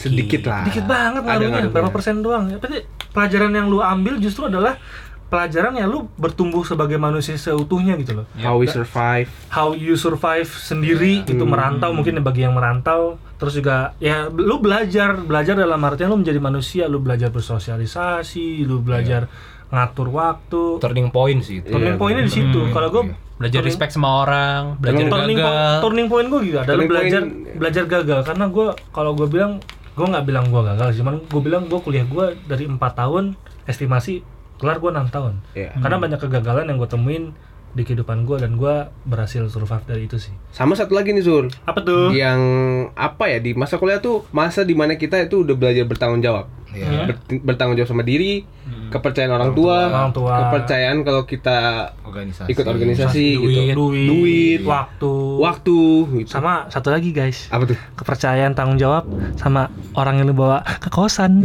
Speaker 2: sedikit lah.
Speaker 1: dikit banget
Speaker 2: Ah, Ada
Speaker 1: ngaruhnya
Speaker 2: ngaruhnya.
Speaker 1: berapa persen doang Ya, tapi pelajaran yang lu ambil justru adalah pelajaran yang lu bertumbuh sebagai manusia seutuhnya gitu loh
Speaker 2: How we survive.
Speaker 1: how you survive sendiri
Speaker 2: Hmm.
Speaker 1: gitu merantau mungkin bagi yang merantau terus juga ya lu belajar belajar dalam artian lu menjadi manusia lu belajar bersosialisasi lu belajar ngatur waktu
Speaker 4: Turning point sih itu.
Speaker 1: turning
Speaker 2: Iya,
Speaker 1: pointnya di situ kalau gue
Speaker 3: belajar respect sama orang
Speaker 1: turning
Speaker 3: belajar
Speaker 1: point
Speaker 3: gagal
Speaker 1: turning point gue gitu adalah
Speaker 2: Turning
Speaker 1: belajar
Speaker 2: point- ya.
Speaker 1: belajar gagal karena gue kalau gue bilang gue nggak bilang gue gagal cuman gue bilang gue kuliah gue dari empat tahun estimasi kelar gue enam tahun
Speaker 2: Iya.
Speaker 1: karena banyak kegagalan yang gue temuin di kehidupan gue dan gue berhasil survive dari itu sih
Speaker 2: Sama satu lagi nih Sur,
Speaker 1: apa tuh
Speaker 2: yang apa ya di masa kuliah tuh masa dimana kita itu udah belajar bertanggung jawab.
Speaker 5: Iya.
Speaker 2: Ber- bertanggung jawab sama diri, kepercayaan Hmm. orang tua,
Speaker 1: Orang tua.
Speaker 2: kepercayaan kalau kita
Speaker 5: Organisasi.
Speaker 2: ikut organisasi gitu,
Speaker 3: Duit.
Speaker 1: duit,
Speaker 2: Duit.
Speaker 1: waktu
Speaker 2: waktu, gitu.
Speaker 1: sama satu lagi guys
Speaker 2: apa tuh?
Speaker 1: kepercayaan tanggung jawab sama orang yang lu bawa ke kosan